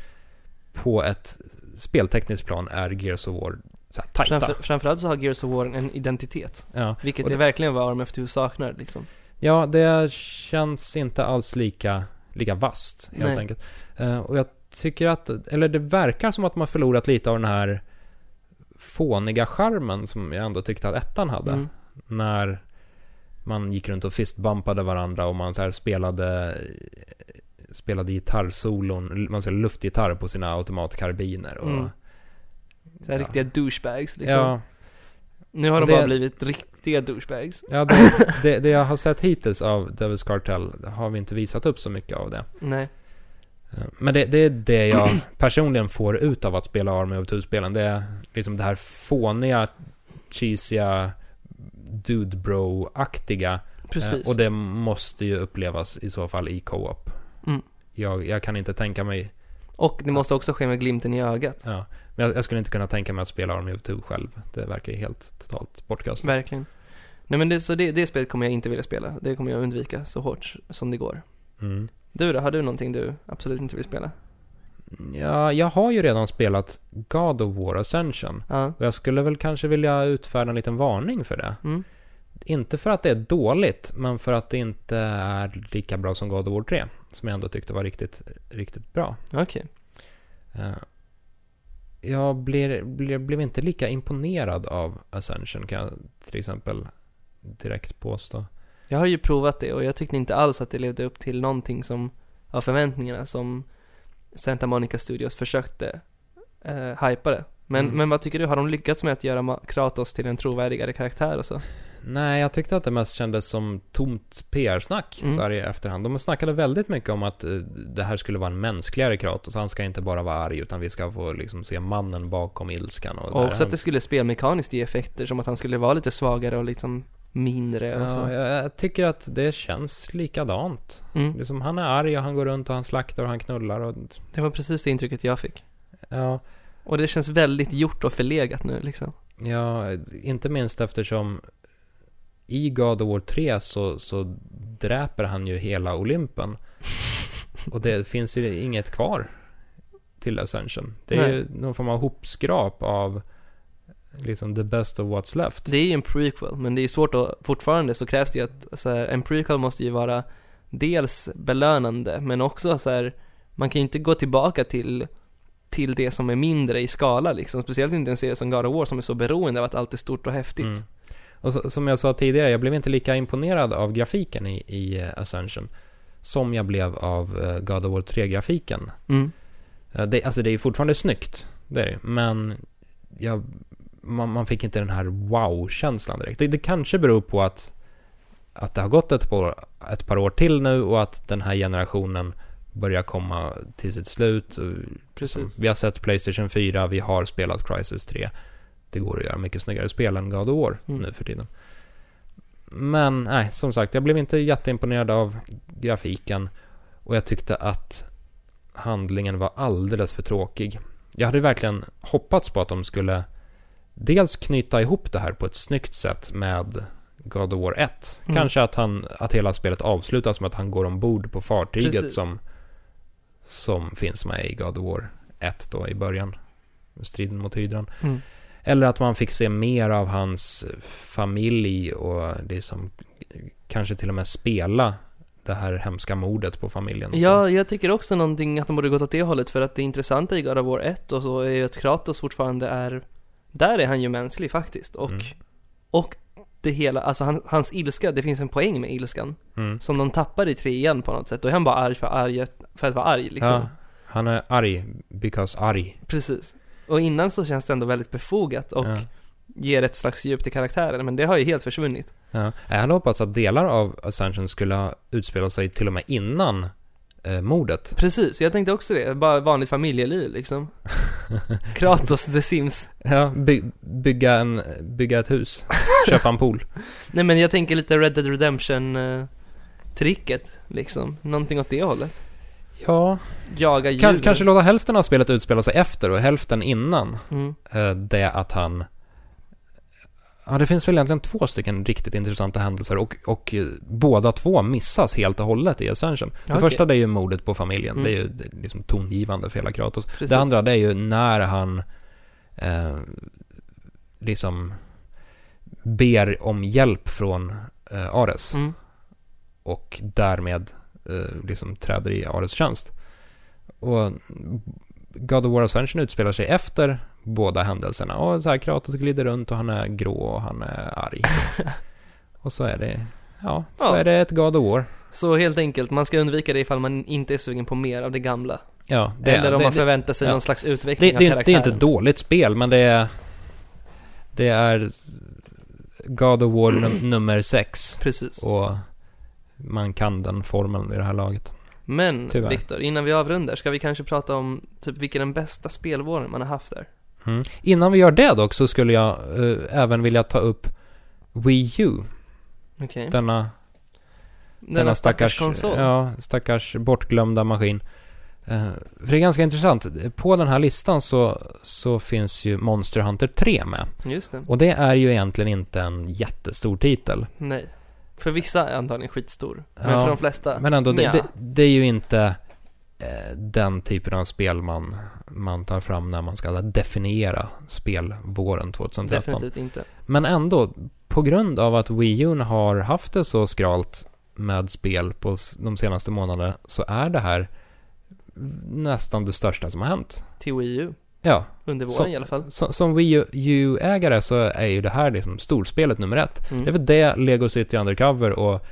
A: på ett speltekniskt plan är Gears of War så här tajta.
B: Framför, framförallt så har Gears of War en identitet,
A: Ja.
B: vilket
A: Och
B: det
A: det-
B: verkligen vad Arm of Two saknar liksom.
A: ja, det känns inte alls lika, lika vasst helt
B: Nej.
A: enkelt. Eh, och jag tycker att, eller det verkar som att man förlorat lite av den här fåniga charmen som jag ändå tyckte att ettan hade.
B: Mm.
A: när man gick runt och fistbumpade varandra och man så här spelade spelade gitarrsolon, man spelade luftgitarr på sina automatkarbiner och
B: Mm, Så här
A: Ja.
B: riktiga douchebags liksom.
A: ja,
B: Nu har de
A: Det-
B: bara blivit riktiga douchebags.
A: ja det, det, det jag har sett hittills av Devil's Cartel har vi inte visat upp så mycket av det.
B: Nej.
A: Men det, det är det jag personligen får ut av att spela Army of Two-spelen. Det är liksom det här fåniga, cheesiga, dude bro-aktiga
B: Precis.
A: Eh, Och det måste ju upplevas i så fall i co-op.
B: Mm.
A: Jag, jag kan inte tänka mig,
B: Och det måste också ske med glimten i ögat.
A: ja, men jag, jag skulle inte kunna tänka mig att spela Army of Two själv. Det verkar ju helt totalt bortkastat.
B: Verkligen. Nej men det, så det, det spelet kommer jag inte vilja spela. Det kommer jag undvika så hårt som det går.
A: Mm.
B: Du då, har du någonting du absolut inte vill spela?
A: Ja, jag har ju redan spelat God of War Ascension.
B: Ja.
A: Och jag skulle väl kanske vilja utfärda en liten varning för det.
B: Mm.
A: Inte för att det är dåligt, men för att det inte är lika bra som God of War 3. Som jag ändå tyckte var riktigt, riktigt bra.
B: Okej.
A: Eh, Jag blir, blir, blev inte lika imponerad av Ascension kan jag till exempel direkt påstå.
B: Jag har ju provat det och jag tyckte inte alls att det levde upp till någonting som, av förväntningarna som Santa Monica Studios försökte eh, hypa det. Men,
A: Mm.
B: men vad tycker du, har de lyckats med att göra Ma- Kratos till en trovärdigare karaktär och så?
A: Nej, jag tyckte att det mest kändes som tomt PR-snack
B: Mm.
A: så här i efterhand. De snackade väldigt mycket om att eh, det här skulle vara en mänskligare Kratos. Han ska inte bara vara arg utan vi ska få liksom se mannen bakom ilskan och, så
B: Och
A: här.
B: också att det skulle spelmekaniskt ge effekter som att han skulle vara lite svagare och liksom mindre och
A: Ja,
B: så.
A: jag jag tycker att det känns likadant.
B: Mm.
A: Liksom han är arg och han går runt och han slaktar och han knullar och...
B: Det var precis det intrycket jag fick.
A: Ja,
B: Och det känns väldigt gjort och förlegat nu liksom.
A: ja inte minst eftersom i God of War 3 så, så dräper han ju hela Olympen. Och det finns ju inget kvar till Ascension. Det är
B: Nej.
A: ju någon form av hopskrap av liksom the best of what's left.
B: Det är ju en prequel, men det är svårt att, fortfarande så krävs det ju att, så här, en prequel måste ju vara dels belönande, men också så här, man kan ju inte gå tillbaka till, till det som är mindre i skala liksom, speciellt inte en serie som God of War som är så beroende av att allt är stort och häftigt.
A: Mm. Och så, som jag sa tidigare, jag blev inte lika imponerad av grafiken i, i eh, Ascension som jag blev av eh, God of War 3-grafiken.
B: Mm.
A: Eh, Det, alltså det är ju fortfarande snyggt, det är det ju, men jag, man, man fick inte den här wow-känslan direkt. Det, det kanske beror på att, att det har gått ett par, ett par år till nu och att den här generationen börjar komma till sitt slut. Och Som,
B: Precis.
A: vi har sett Playstation 4, vi har spelat Crisis 3. Det går att göra mycket snyggare spel än God of War
B: Mm.
A: nu för tiden. Men nej, som sagt, jag blev inte jätteimponerad av grafiken och jag tyckte att handlingen var alldeles för tråkig. Jag hade verkligen hoppats på att de skulle dels knyta ihop det här på ett snyggt sätt med God of War 1.
B: Mm.
A: Kanske att, han, att hela spelet avslutas med att han går ombord på fartyget
B: Precis.
A: som, som finns med i God of War 1 då i början. Striden mot hydran.
B: Mm.
A: Eller att man fick se mer av hans familj och liksom kanske till och med spela det här hemska mordet på familjen.
B: Ja, jag tycker också någonting att de borde gått åt det hållet för att det intressanta i God of War 1 och så är ju att Kratos fortfarande är, där är han ju mänsklig faktiskt och,
A: Mm.
B: och det hela, alltså han, hans ilska, det finns en poäng med ilskan
A: Som, mm.
B: som de tappar i trean på något sätt. Då är han bara arg för, arg, för att vara arg liksom.
A: ja, han är arg because arg.
B: Precis. Och innan så känns det ändå väldigt befogat och
A: Ja.
B: ger ett slags djup till karaktären, men det har ju helt försvunnit.
A: Ja. Jag hade hoppats att delar av Ascension skulle ha utspelat sig till och med innan eh, mordet.
B: Precis, jag tänkte också det. Bara vanligt familjeliv liksom. Kratos the Sims.
A: Ja, by, bygga, en, bygga ett hus, köpa en pool.
B: Nej men jag tänker lite Red Dead Redemption-tricket liksom. Någonting åt det hållet.
A: Ja,
B: Jaga djur.
A: kan, kanske låta hälften av spelet utspela sig efter och hälften innan
B: Mm.
A: eh, det att han... Ja, det finns väl egentligen två stycken riktigt intressanta händelser och, och eh, båda två missas helt och hållet i Ascension. Det
B: Okej.
A: första det är ju mordet på familjen,
B: Mm.
A: det är ju det är liksom tongivande för hela Kratos.
B: Precis.
A: Det andra det är ju när han eh, liksom ber om hjälp från eh, Ares
B: Mm.
A: och därmed eh, liksom träder i Ares tjänst. Och God of War Ascension utspelar sig efter båda händelserna. Och så här Kratos glider runt och han är grå och han är arg. och så är det, ja, så
B: Ja.
A: är det ett God of War.
B: Så helt enkelt, man ska undvika det ifall man inte är sugen på mer av det gamla.
A: Ja, det,
B: Eller om
A: det,
B: man
A: det,
B: förväntar sig
A: ja.
B: någon slags utveckling
A: det,
B: av
A: det, är- det är
B: karaktären.
A: inte ett dåligt spel, men det är... Det är God of War num- nummer sex.
B: Precis.
A: Och man kan den formeln vid det här laget.
B: Men,
A: Tyvärr.
B: Viktor, innan vi avrundar, ska vi kanske prata om typ vilken den bästa spelvåren man har haft där?
A: Mm. Innan vi gör det dock så skulle jag eh, även vilja ta upp Wii U.
B: Okej.
A: Denna,
B: Denna, stackars, konsol.
A: Ja, stackars bortglömda maskin. Eh, för det är ganska intressant. På den här listan så, så finns ju Monster Hunter 3 med.
B: Just det.
A: Och det är ju egentligen inte en jättestor titel.
B: Nej. För vissa är antagligen skitstor, men
A: Ja,
B: för de flesta...
A: Men ändå, det,
B: nja.
A: det, det är ju inte eh, den typen av spel man, man tar fram när man ska definiera spelvåren 2013.
B: Definitivt inte.
A: Men ändå, på grund av att Wii U har haft det så skralt med spel på s- de senaste månaderna så är det här nästan det största som har hänt.
B: Till Wii U,
A: Ja,
B: under våren
A: Så-
B: i alla fall.
A: så, som Wii U-ägare så är ju det här liksom storspelet nummer ett.
B: Mm.
A: Det är väl det, Lego City Undercover och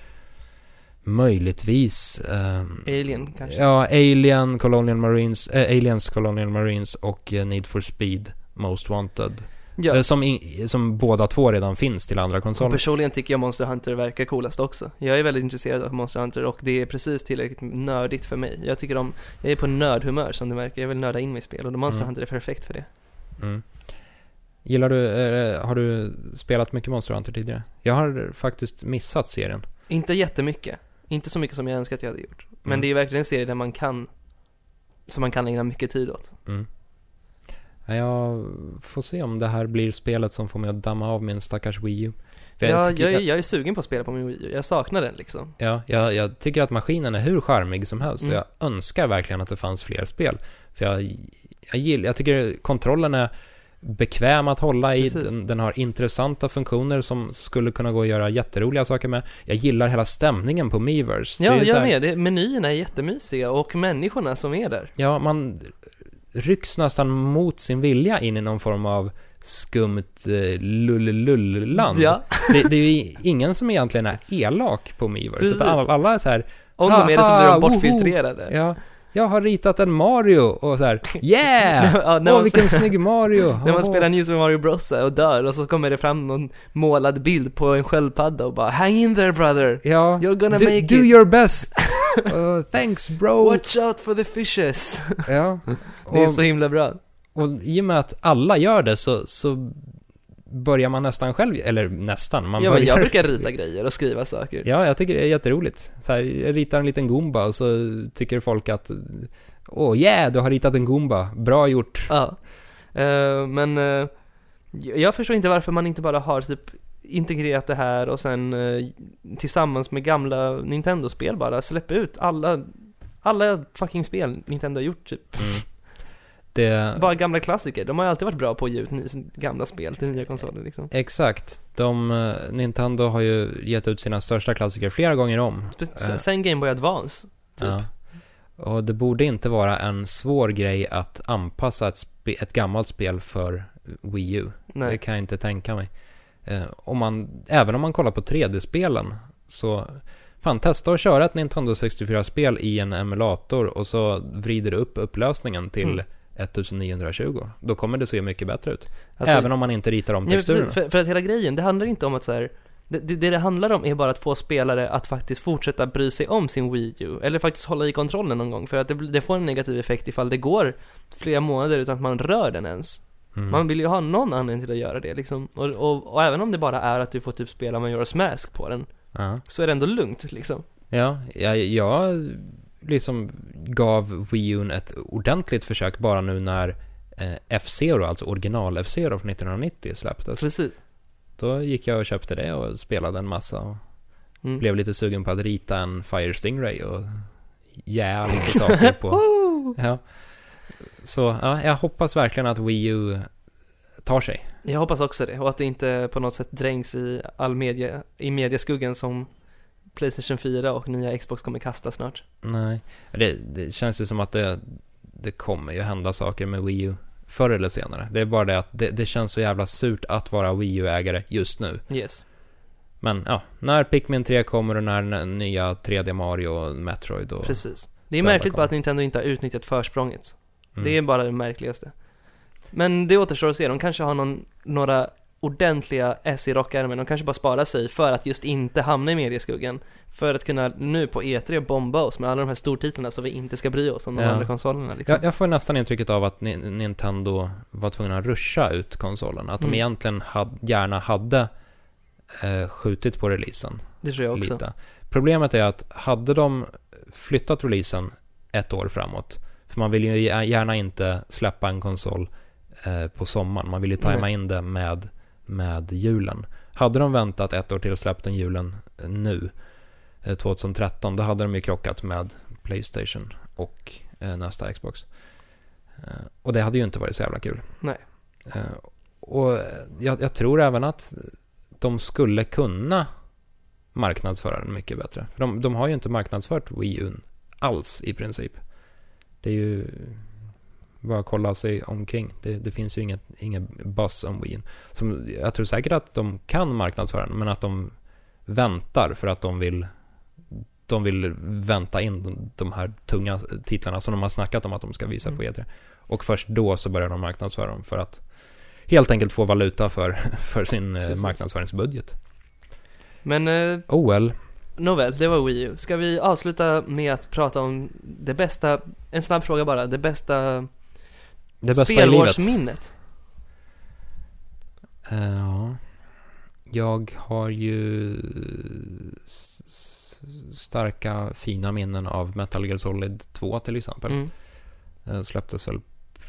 A: möjligtvis... ehm,
B: Alien, kanske.
A: Ja, Alien, Colonial Marines, eh, Aliens, Colonial Marines och eh, Need for Speed, Most Wanted.
B: Ja.
A: Eh, som, in, som båda två redan finns till andra
B: Och
A: konsoler.
B: personligen tycker jag Monster Hunter verkar coolast också. Jag är väldigt intresserad av Monster Hunter och det är precis tillräckligt nördigt för mig. Jag tycker om, jag är på nördhumör som du märker, jag vill nörda in mig i spel och Monster
A: Mm.
B: Hunter är perfekt för det.
A: Mm. Gillar du, eh, har du spelat mycket Monster Hunter tidigare? Jag har faktiskt missat serien.
B: Inte jättemycket. Inte så mycket som jag önskar att jag hade gjort. Men
A: Mm.
B: det är ju verkligen en serie där man kan, som man kan ägna mycket tid åt.
A: Mm. Ja, Jag får se om det här blir spelet som får mig att damma av min stackars Wii U. För
B: Jag,
A: tycker-
B: jag, jag, är sugen på att spela på min Wii U. Jag saknar den liksom.
A: Ja, jag, jag tycker att maskinen är hur charmig som helst
B: Mm.
A: och jag önskar verkligen att det fanns fler spel. För jag, jag, gillar, jag tycker kontrollen är bekväm att hålla i,
B: Precis.
A: den, den har intressanta funktioner som skulle kunna gå att göra jätteroliga saker med. Jag gillar hela stämningen på Miiverse.
B: Ja,
A: Det är så
B: jag
A: här-
B: med. Det, menyerna är jättemysiga och människorna som är där.
A: Ja, man rycks nästan mot sin vilja in i någon form av skumt eh, lullululland.
B: Ja,
A: Det, det är ju ingen som egentligen är elak på Miiverse,
B: Precis.
A: utan alla, alla är så här
B: om de är det så blir
A: Haha,
B: de
A: woho.
B: bortfiltrerade.
A: Ja, jag har ritat en Mario och så här, yeah!
B: Ja, när
A: Åh,
B: man
A: vilken snygg Mario!
B: När man
A: Åh.
B: spelar New Super Mario Bros och dör och så kommer det fram någon målad bild på en sköldpadda och bara Hang in there brother!
A: Ja,
B: You're gonna
A: do,
B: make
A: do
B: it.
A: your best! Uh, thanks bro!
B: Watch out for the fishes!
A: Ja.
B: Det är
A: Och,
B: så himla bra.
A: och i och med att alla gör det så, så börjar man nästan själv, eller nästan, man
B: ja, men
A: börjar...
B: jag brukar rita grejer och skriva saker.
A: Ja, jag tycker det är jätteroligt. Så här, jag ritar en liten Goomba och så tycker folk att Åh oh, yeah, du har ritat en Goomba, bra gjort.
B: Ja. Eh, men eh, jag förstår inte varför man inte bara har typ integrerat det här och sen eh, tillsammans med gamla Nintendo-spel bara släpp ut alla, alla fucking spel Nintendo har gjort typ.
A: Det,
B: Bara gamla klassiker. De har ju alltid varit bra på att ge ut ny, gamla spel till nya konsoler liksom.
A: Exakt. De, eh, Nintendo har ju gett ut sina största klassiker flera gånger om.
B: Spe-
A: Eh.
B: sen- Sen Game Boy Advance. Typ.
A: Ja. Och det borde inte vara en svår grej att anpassa ett, spe- ett gammalt spel för Wii U. Det
B: Nej.
A: kan jag inte tänka mig. Eh, om man, även om man kollar på 3D-spelen så fan testa att köra ett Nintendo 64-spel i en emulator och så vrider du upp upplösningen till
B: Mm.
A: 1920. Då kommer det se mycket bättre ut.
B: Alltså,
A: även om man inte ritar om
B: ja, men precis,
A: texturerna.
B: för, för att hela grejen, det handlar inte om att så här. Det, det det det handlar om är bara att få spelare att faktiskt fortsätta bry sig om sin Wii U, eller faktiskt hålla i kontrollen någon gång, för att det, blir- det får en negativ effekt ifall det går flera månader utan att man rör den ens.
A: Mm.
B: Man vill ju ha någon anledning till att göra det liksom, och, och, och även om det bara är att du får typ spela Majora's Mask på den,
A: Ja.
B: så är det ändå lugnt liksom.
A: Ja, jag, jag liksom gav Wii U ett ordentligt försök bara nu när eh, F-Zero, alltså original F-Zero från 1990 släpptes.
B: Precis.
A: Då gick jag och köpte det och spelade en massa och
B: Mm.
A: blev lite sugen på att rita en Fire Stingray och jäa lite saker på. Ja. Så ja, jag hoppas verkligen att Wii U tar sig.
B: Jag hoppas också det, och att det inte på något sätt drängs i all media, i mediaskuggan som Playstation 4 och nya Xbox kommer kasta snart.
A: Nej, det, det känns ju som att det, det kommer ju hända saker med Wii U förr eller senare. Det är bara det att det, det känns så jävla surt att vara Wii U-ägare just nu.
B: Yes.
A: Men ja, när Pikmin 3 kommer och när n- nya 3D Mario och Metroid och...
B: Precis. Det är
A: Zelda
B: märkligt bara
A: kommer.
B: att Nintendo inte har utnyttjat försprånget.
A: Mm.
B: Det är bara det märkligaste. Men det återstår att se, de kanske har någon, några ordentliga S i rockärmen, de kanske bara sparar sig för att just inte hamna i medieskuggan. För att kunna nu på E3 bomba oss med alla de här stortitlarna så vi inte ska bry oss om de
A: Ja.
B: andra konsolerna liksom.
A: jag, jag får nästan intrycket av att Ni- Nintendo var tvungna att ruscha ut konsolen. Att de
B: Mm.
A: egentligen had, gärna hade eh, skjutit på releasen
B: Det tror jag också.
A: lite. Problemet är att hade de flyttat releasen ett år framåt, för man vill ju gär- gärna inte släppa en konsol eh, på sommaren, man vill ju tajma
B: Nej.
A: in det med, med julen. Hade de väntat ett år till och släppt den julen eh, nu, eh, 2013, då hade de ju krockat med Playstation och eh, nästa Xbox. Eh, och det hade ju inte varit så jävla kul.
B: Nej.
A: Eh, och eh, jag, jag tror även att de skulle kunna marknadsföra den mycket bättre. För de, de har ju inte marknadsfört Wii U alls i princip. Det är ju bara att kolla sig omkring. Det, det finns ju inget, ingen buzz om Wii U. Som, jag tror säkert att de kan marknadsföra den, men att de väntar för att de vill de vill vänta in de, de här tunga titlarna som de har snackat om att de ska visa på E3. Och först då så börjar de marknadsföra dem för att helt enkelt få valuta för, för sin eh,
B: Precis.
A: marknadsföringsbudget.
B: Men eh,
A: OL,
B: Nåväl, det var Wii U. Ska vi avsluta med att prata om det bästa, en snabb fråga bara, det bästa,
A: det bästa i livet.
B: spelårsminnet?
A: Eh, ja. Jag har ju s- s- starka fina minnen av Metal Gear Solid 2 till exempel.
B: Mm.
A: Eh, släpptes väl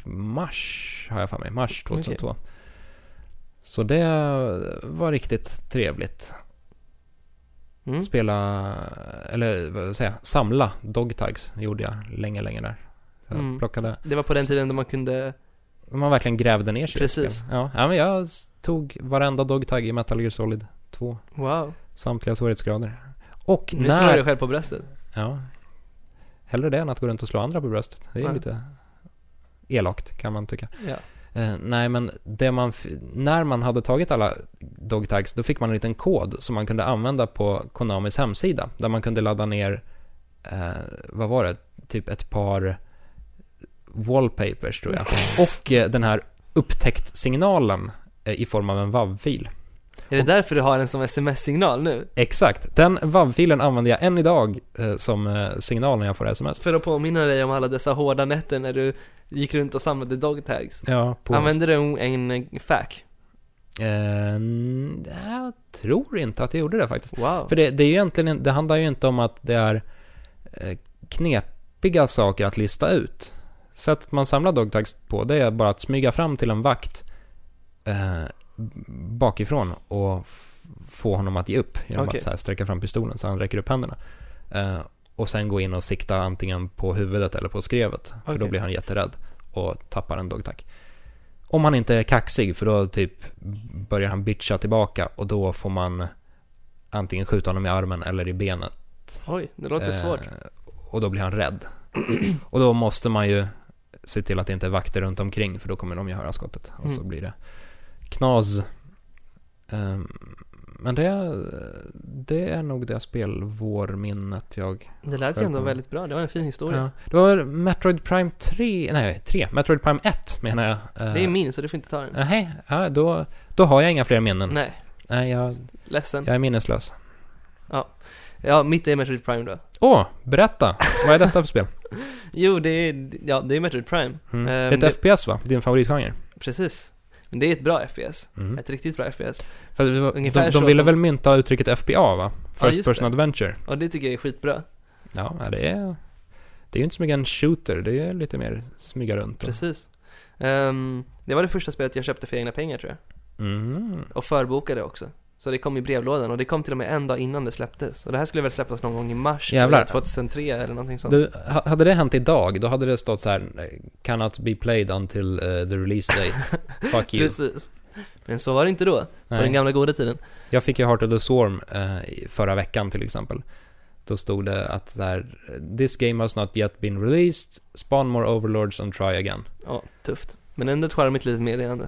A: mars, har jag för mig, mars 2002. Så det var riktigt trevligt.
B: Mm.
A: Spela, eller vad säger jag, samla dogtags gjorde jag länge, länge där. Så jag
B: Mm.
A: plockade,
B: Det var på den tiden då man kunde,
A: man verkligen grävde ner sig. i
B: Precis.
A: spel. Ja, ja, men jag s- tog varenda dogtag i Metal Gear Solid 2,
B: wow.
A: samtliga svårighetsgrader. Och
B: Nu slår du dig
A: när...
B: själv på bröstet.
A: Ja. Hellre det än att gå runt och slå andra på bröstet. Det är
B: Ja.
A: lite elakt kan man tycka.
B: Ja.
A: Eh, nej, men det man, f- när man hade tagit alla dogtags, då fick man en liten kod som man kunde använda på Konamis hemsida, där man kunde ladda ner, eh, vad var det, typ ett par wallpapers tror jag, och eh, den här upptäckt-signalen eh, i form av en WAV-fil.
B: Är det därför du har en som sms-signal nu?
A: Exakt, den WAV-filen använder jag än idag eh, som eh, signal när jag får sms.
B: För att påminna dig om alla dessa hårda nätter när du gick runt och samlade dogtags.
A: Ja, på,
B: Använde du en, en fack?
A: eh, n- jag tror inte att jag gjorde det faktiskt.
B: Wow.
A: För det, det är ju egentligen, en- det handlar ju inte om att det är eh, knepiga saker att lista ut. Sättet man samlar dogtags på, det är bara att smyga fram till en vakt eh, bakifrån och f- få honom att ge upp genom
B: Okej.
A: att så här, sträcka fram pistolen så han räcker upp händerna. Eh, och sen gå in och sikta antingen på huvudet eller på skrevet, för då
B: Okej.
A: blir han jätterädd och tappar en dogtag. Om han inte är kaxig, för då typ börjar han bitcha tillbaka och då får man antingen skjuta honom i armen eller i benet.
B: Oj, det låter
A: Eh,
B: svårt.
A: Och då blir han rädd. och då måste man ju se till att det inte är vakter runt omkring för då kommer de ju höra skottet. Och så
B: Mm.
A: blir det knas. Ehm, men det, det är nog det spelvårminnet jag...
B: Det lät ju ändå väldigt bra, det var en fin historia.
A: Ja. Det var Metroid Prime 3, nej 3, Metroid Prime 1 menar jag. Eh,
B: Det är min, så du får inte ta den.
A: Nej, ja, då, då har jag inga fler minnen. Nej,
B: Nej,
A: jag,
B: ledsen.
A: jag är minneslös.
B: Ja, mitt är Metroid Prime då.
A: Åh, berätta! Vad är detta för spel?
B: Jo, det är, ja, det är Metroid Prime.
A: Mm.
B: Ehm,
A: det är ett
B: det-
A: FPS va? Din favoritgenre?
B: Precis. Men det är ett bra FPS.
A: Mm.
B: Ett riktigt bra FPS.
A: För det var,
B: Ungefär
A: de,
B: så
A: de ville
B: som-
A: väl mynta uttrycket FBA va?
B: Ja,
A: First
B: just
A: Person
B: det.
A: Adventure.
B: Och det tycker jag är skitbra.
A: Ja, ja, det är... Det är ju inte så mycket en shooter, det är lite mer smyga runt. Och,
B: Precis. Ehm, det var det första spelet jag köpte för egna pengar tror jag.
A: mm.
B: Och förbokade också. Så det kom i brevlådan och det kom till och med en dag innan det släpptes. Och det här skulle väl släppas någon gång i mars tror jag,
A: Jävlar.
B: 2003 eller någonting sånt.
A: Du, ha- hade det hänt idag, då hade det stått så här eh, Cannot be played until eh, the release date. Fuck you.
B: Precis. Men så var det inte då, på den
A: Nej.
B: gamla goda tiden.
A: Jag fick ju Heart of the Swarm eh, i- förra veckan till exempel. Då stod det att så här, This game has not yet been released. Spawn more overlords and try again.
B: Ja, tufft. Men ändå ett charmigt litet meddelande.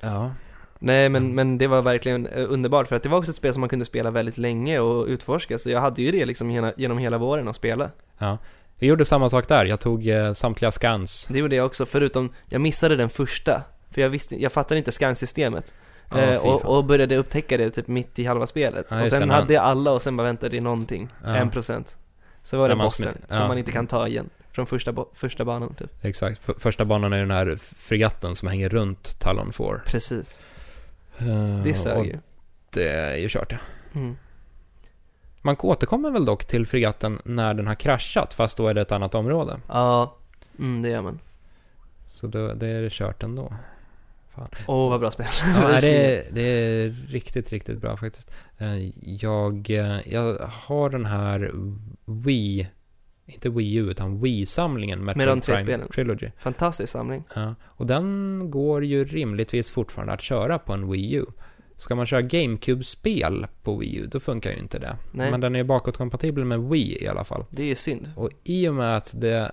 A: Ja.
B: Nej men, men det var verkligen eh, underbart för att det var också ett spel som man kunde spela väldigt länge och utforska så jag hade ju det liksom gena- genom hela våren att spela.
A: Jag gjorde samma sak där. Jag tog eh, samtliga scans
B: Det gjorde jag också förutom, jag missade den första för jag visste, jag fattade inte scansystemet.
A: Ja,
B: Eh,
A: fy
B: och,
A: fan.
B: och började upptäcka det typ mitt i halva spelet.
A: Ja,
B: och
A: just
B: sen
A: det,
B: hade jag alla och sen bara väntade i någonting,
A: Ja.
B: en procent. Så var
A: Där
B: det
A: man
B: bossen
A: smi-
B: som
A: ja.
B: man inte kan ta igen från första, bo- första banan typ.
A: Exakt, För, första banan är den här fregatten som hänger runt Talon 4.
B: Precis,
A: Eh,
B: det sög
A: och
B: ju.
A: det är ju kört ja.
B: Mm.
A: Man återkommer väl dock till fregatten när den har kraschat, fast då är det ett annat område.
B: Ja, mm, det gör man.
A: Så då, det är det kört ändå.
B: Åh vad bra spel.
A: Ja, nej,
B: Verkligen.
A: det, det är riktigt, riktigt bra faktiskt. Eh, Jag, eh, jag har den här Wii, inte Wii U, utan Wii-samlingen med
B: de tre spelen.
A: Trilogy.
B: Fantastisk samling.
A: Ja, och den går ju rimligtvis fortfarande att köra på en Wii U. Ska man köra GameCube-spel på Wii U, då funkar ju inte det.
B: Nej.
A: Men den är ju bakåtkompatibel med Wii i alla fall.
B: Det är ju synd.
A: Och i och med att det,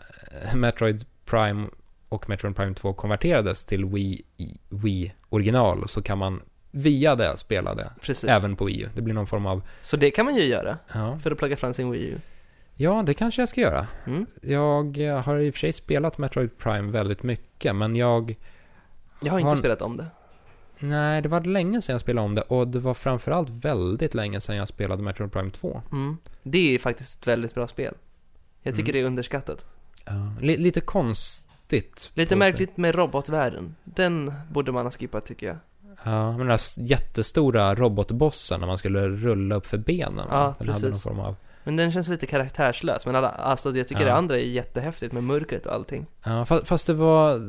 A: Metroid Prime och Metroid Prime 2 konverterades till Wii, Wii original så kan man via det spela det,
B: Precis.
A: även på Wii U. Det blir någon form av...
B: Så det kan man ju göra
A: Ja,
B: för att plocka fram sin Wii U.
A: ja det kanske jag ska göra.
B: Mm.
A: Jag eh, har i och för sig spelat Metroid Prime väldigt mycket, men jag
B: Jag har inte
A: Har-
B: spelat om det.
A: Nej, det var länge sedan jag spelade om det och det var framförallt väldigt länge sedan jag spelade Metroid Prime 2.
B: Mm. Det är ju faktiskt ett väldigt bra spel. Jag tycker
A: Mm.
B: det är underskattat.
A: Li- lite konstigt. på
B: Lite
A: sig.
B: märkligt med robotvärlden. Den borde man ha skippat tycker jag.
A: Ja, men den där jättestora robotbossen när man skulle rulla upp för benen.
B: Ja,
A: va? den hade någon
B: precis.
A: form av...
B: Men den känns lite karaktärslös. Men alla, alltså jag tycker
A: Ja.
B: det andra är jättehäftigt med mörkret och allting.
A: Ja, fa- fast det var...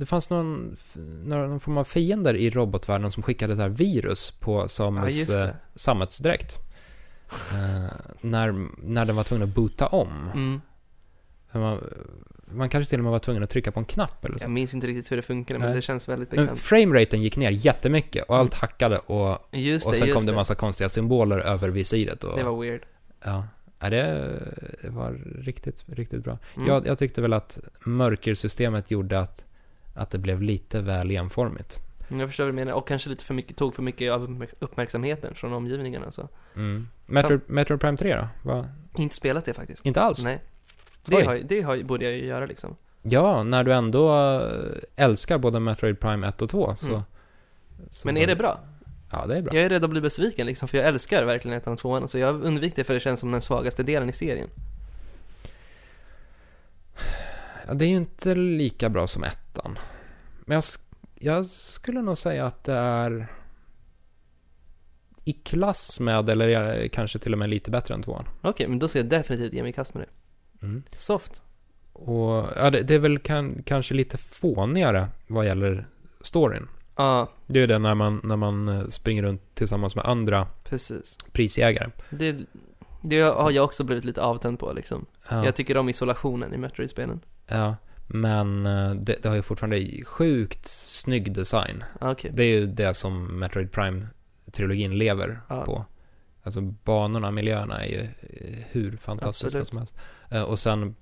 A: Det fanns någon, f- några- någon form av fiender i robotvärlden som skickade så här virus på
B: Ja,
A: Samus
B: just
A: eh,
B: det.
A: sammetsdräkt. Eh, när, när den var tvungen att boota om.
B: Mm.
A: För Man, man kanske till och med var tvungen att trycka på en knapp eller så.
B: Jag minns inte riktigt hur det funkade, men
A: Nej.
B: det känns väldigt
A: Men
B: bekant.
A: frameraten gick ner jättemycket och allt hackade och,
B: Just
A: och
B: det,
A: sen
B: just
A: kom det
B: det.
A: en massa konstiga symboler över visiret. Och,
B: Det var weird.
A: Ja, ja det, det var riktigt, riktigt bra.
B: Mm.
A: Jag, jag tyckte väl att mörkersystemet gjorde att, att det blev lite väl enformigt.
B: Men Mm, Jag förstår vad du menar. Och kanske lite för mycket, tog för mycket av uppmärk- uppmärksamheten från omgivningen alltså.
A: Mm. Metro, Metro Prime 3 då? Va?
B: Inte spelat det faktiskt.
A: Inte alls?
B: Nej.
A: Oj.
B: Det, har, det har, borde jag ju göra liksom.
A: Ja, när du ändå eh, älskar både Metroid Prime 1 och 2 så...
B: Mm.
A: så
B: Men är det bra?
A: Ja, det är bra.
B: Jag är rädd att bli besviken liksom, för jag älskar verkligen ettan och tvåan. Så jag undviker det för det känns som den svagaste delen i serien.
A: Ja, det är ju inte lika bra som ettan. Men jag, sk- jag skulle nog säga att det är i klass med, eller eh, kanske till och med lite bättre än tvåan.
B: Okej, men då ska jag definitivt ge mig i kast med det.
A: Mm.
B: Soft.
A: Och ja, det, det är väl kan, kanske lite fånigare vad gäller storyn.
B: Ja,
A: Det är ju det när man, när man eh, springer runt tillsammans med andra
B: precis.
A: prisjägare.
B: Det, det har jag också blivit lite avtänd på liksom.
A: Ja,
B: Jag tycker om isolationen i Metroid-spelen.
A: ja. Men eh, det, det har ju fortfarande sjukt snygg design.
B: Ah, Okej.
A: Det är ju det som Metroid Prime-trilogin lever
B: Ja.
A: på. Alltså banorna, miljöerna är ju eh, hur fantastiska
B: Absolut.
A: som helst. Eh, Och sen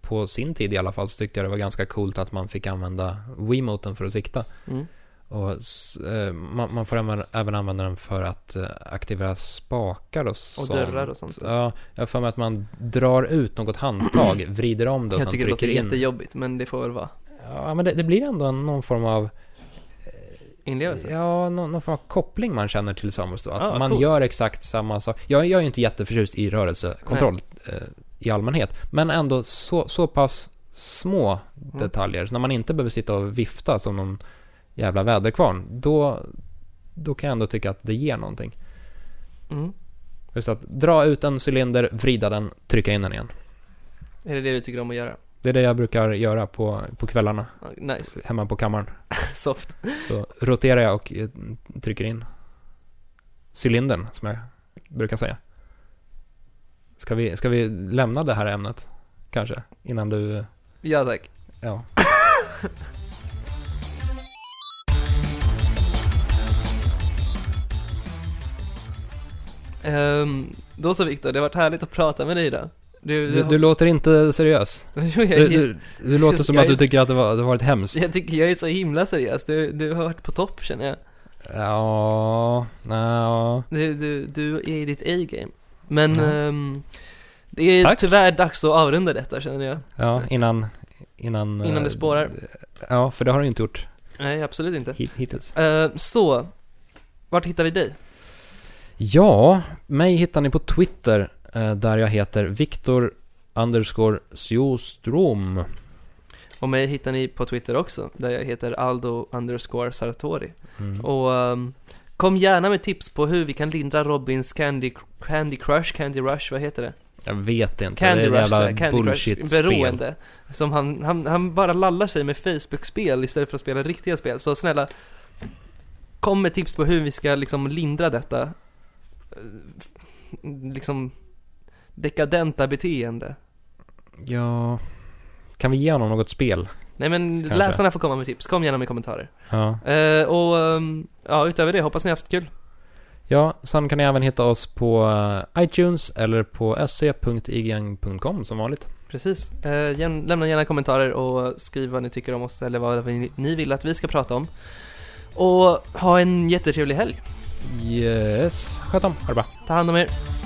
A: på sin tid i alla fall så tyckte jag det var ganska coolt att man fick använda Wiimoten för att sikta.
B: Mm.
A: Och s- eh, man, man får även, även använda den för att eh, aktivera spakar och sånt.
B: dörrar och sånt.
A: Ja, jag har för mig att man drar ut något handtag, vrider om det och
B: Jag
A: sen
B: tycker det låter
A: trycker in.
B: jättejobbigt, men det får väl vara
A: Ja, men det, det blir ändå en- någon form av
B: inlevelse.
A: Ja, någon, någon form av koppling man känner till Samus då. Att
B: Ah,
A: man
B: coolt.
A: gör exakt samma sak. Jag, jag är ju inte jätteförtjust i rörelsekontroll eh, i allmänhet. Men ändå så, så pass små detaljer. Så när man inte behöver sitta och vifta som någon jävla väderkvarn. Då, då kan jag ändå tycka att det ger någonting.
B: Mm.
A: Just att dra ut en cylinder, vrida den, trycka in den igen.
B: Är det det du tycker om att göra?
A: Det är det jag brukar göra på, på kvällarna
B: Ja, Nice.
A: hemma på kammaren.
B: Soft.
A: Så roterar jag och eh, trycker in cylindern, som jag brukar säga. Ska vi, ska vi lämna det här ämnet, kanske? Innan du... eh,
B: Ja, tack.
A: Ja.
B: Ehm, då så Viktor, det har varit härligt att prata med dig idag. Du,
A: Du, du låter inte seriös.
B: Jo, jag,
A: Du, du, du låter som
B: jag
A: att du
B: är-
A: tycker att det var, det var ett hemskt.
B: jag tycker jag är så himla seriös. Du, du har varit på topp känner jag.
A: Ja, ja.
B: Du, du, du är i ditt A-game. Men
A: Ja.
B: ehm, det är
A: Tack.
B: tyvärr dags att avrunda detta känner jag.
A: Ja, innan... Innan,
B: Innan det
A: eh,
B: spårar.
A: Ja, för det har du inte gjort
B: Nej, absolut inte.
A: hit- hittills.
B: Ehm, så, vart hittar vi dig?
A: Ja, mig hittar ni på Twitter, eh, där jag heter Viktor underscore Sjostrom.
B: Och mig hittar ni på Twitter också, där jag heter Aldo underscore Sartori.
A: Mm.
B: Och ehm, kom gärna med tips på hur vi kan lindra Robins Candy, candy Crush, Candy Rush, vad heter det?
A: Jag vet inte,
B: Candy
A: det är
B: Rush,
A: ett
B: så
A: jävla
B: här, Candy Crush,
A: bullshit-spel.
B: beroende. Som han, han, han bara lallar sig med Facebook-spel istället för att spela riktiga spel. Så snälla, kom med tips på hur vi ska liksom lindra detta, eh, f- liksom dekadenta beteende.
A: Ja, kan vi ge honom något spel?
B: Nej men
A: Kanske.
B: läsarna får komma med tips, kom gärna med kommentarer.
A: Ja.
B: Eh, och ehm, ja, utöver det, hoppas ni haft kul.
A: ja, sen kan ni även hitta oss på eh, iTunes eller på sc.ign.com som vanligt.
B: Precis. Eh, gärna- lämna gärna kommentarer och skriv vad ni tycker om oss eller vad vi, ni vill att vi ska prata om. Och ha en jättetrevlig helg.
A: Yes, sköt om, ha det bra.
B: Ta hand om er.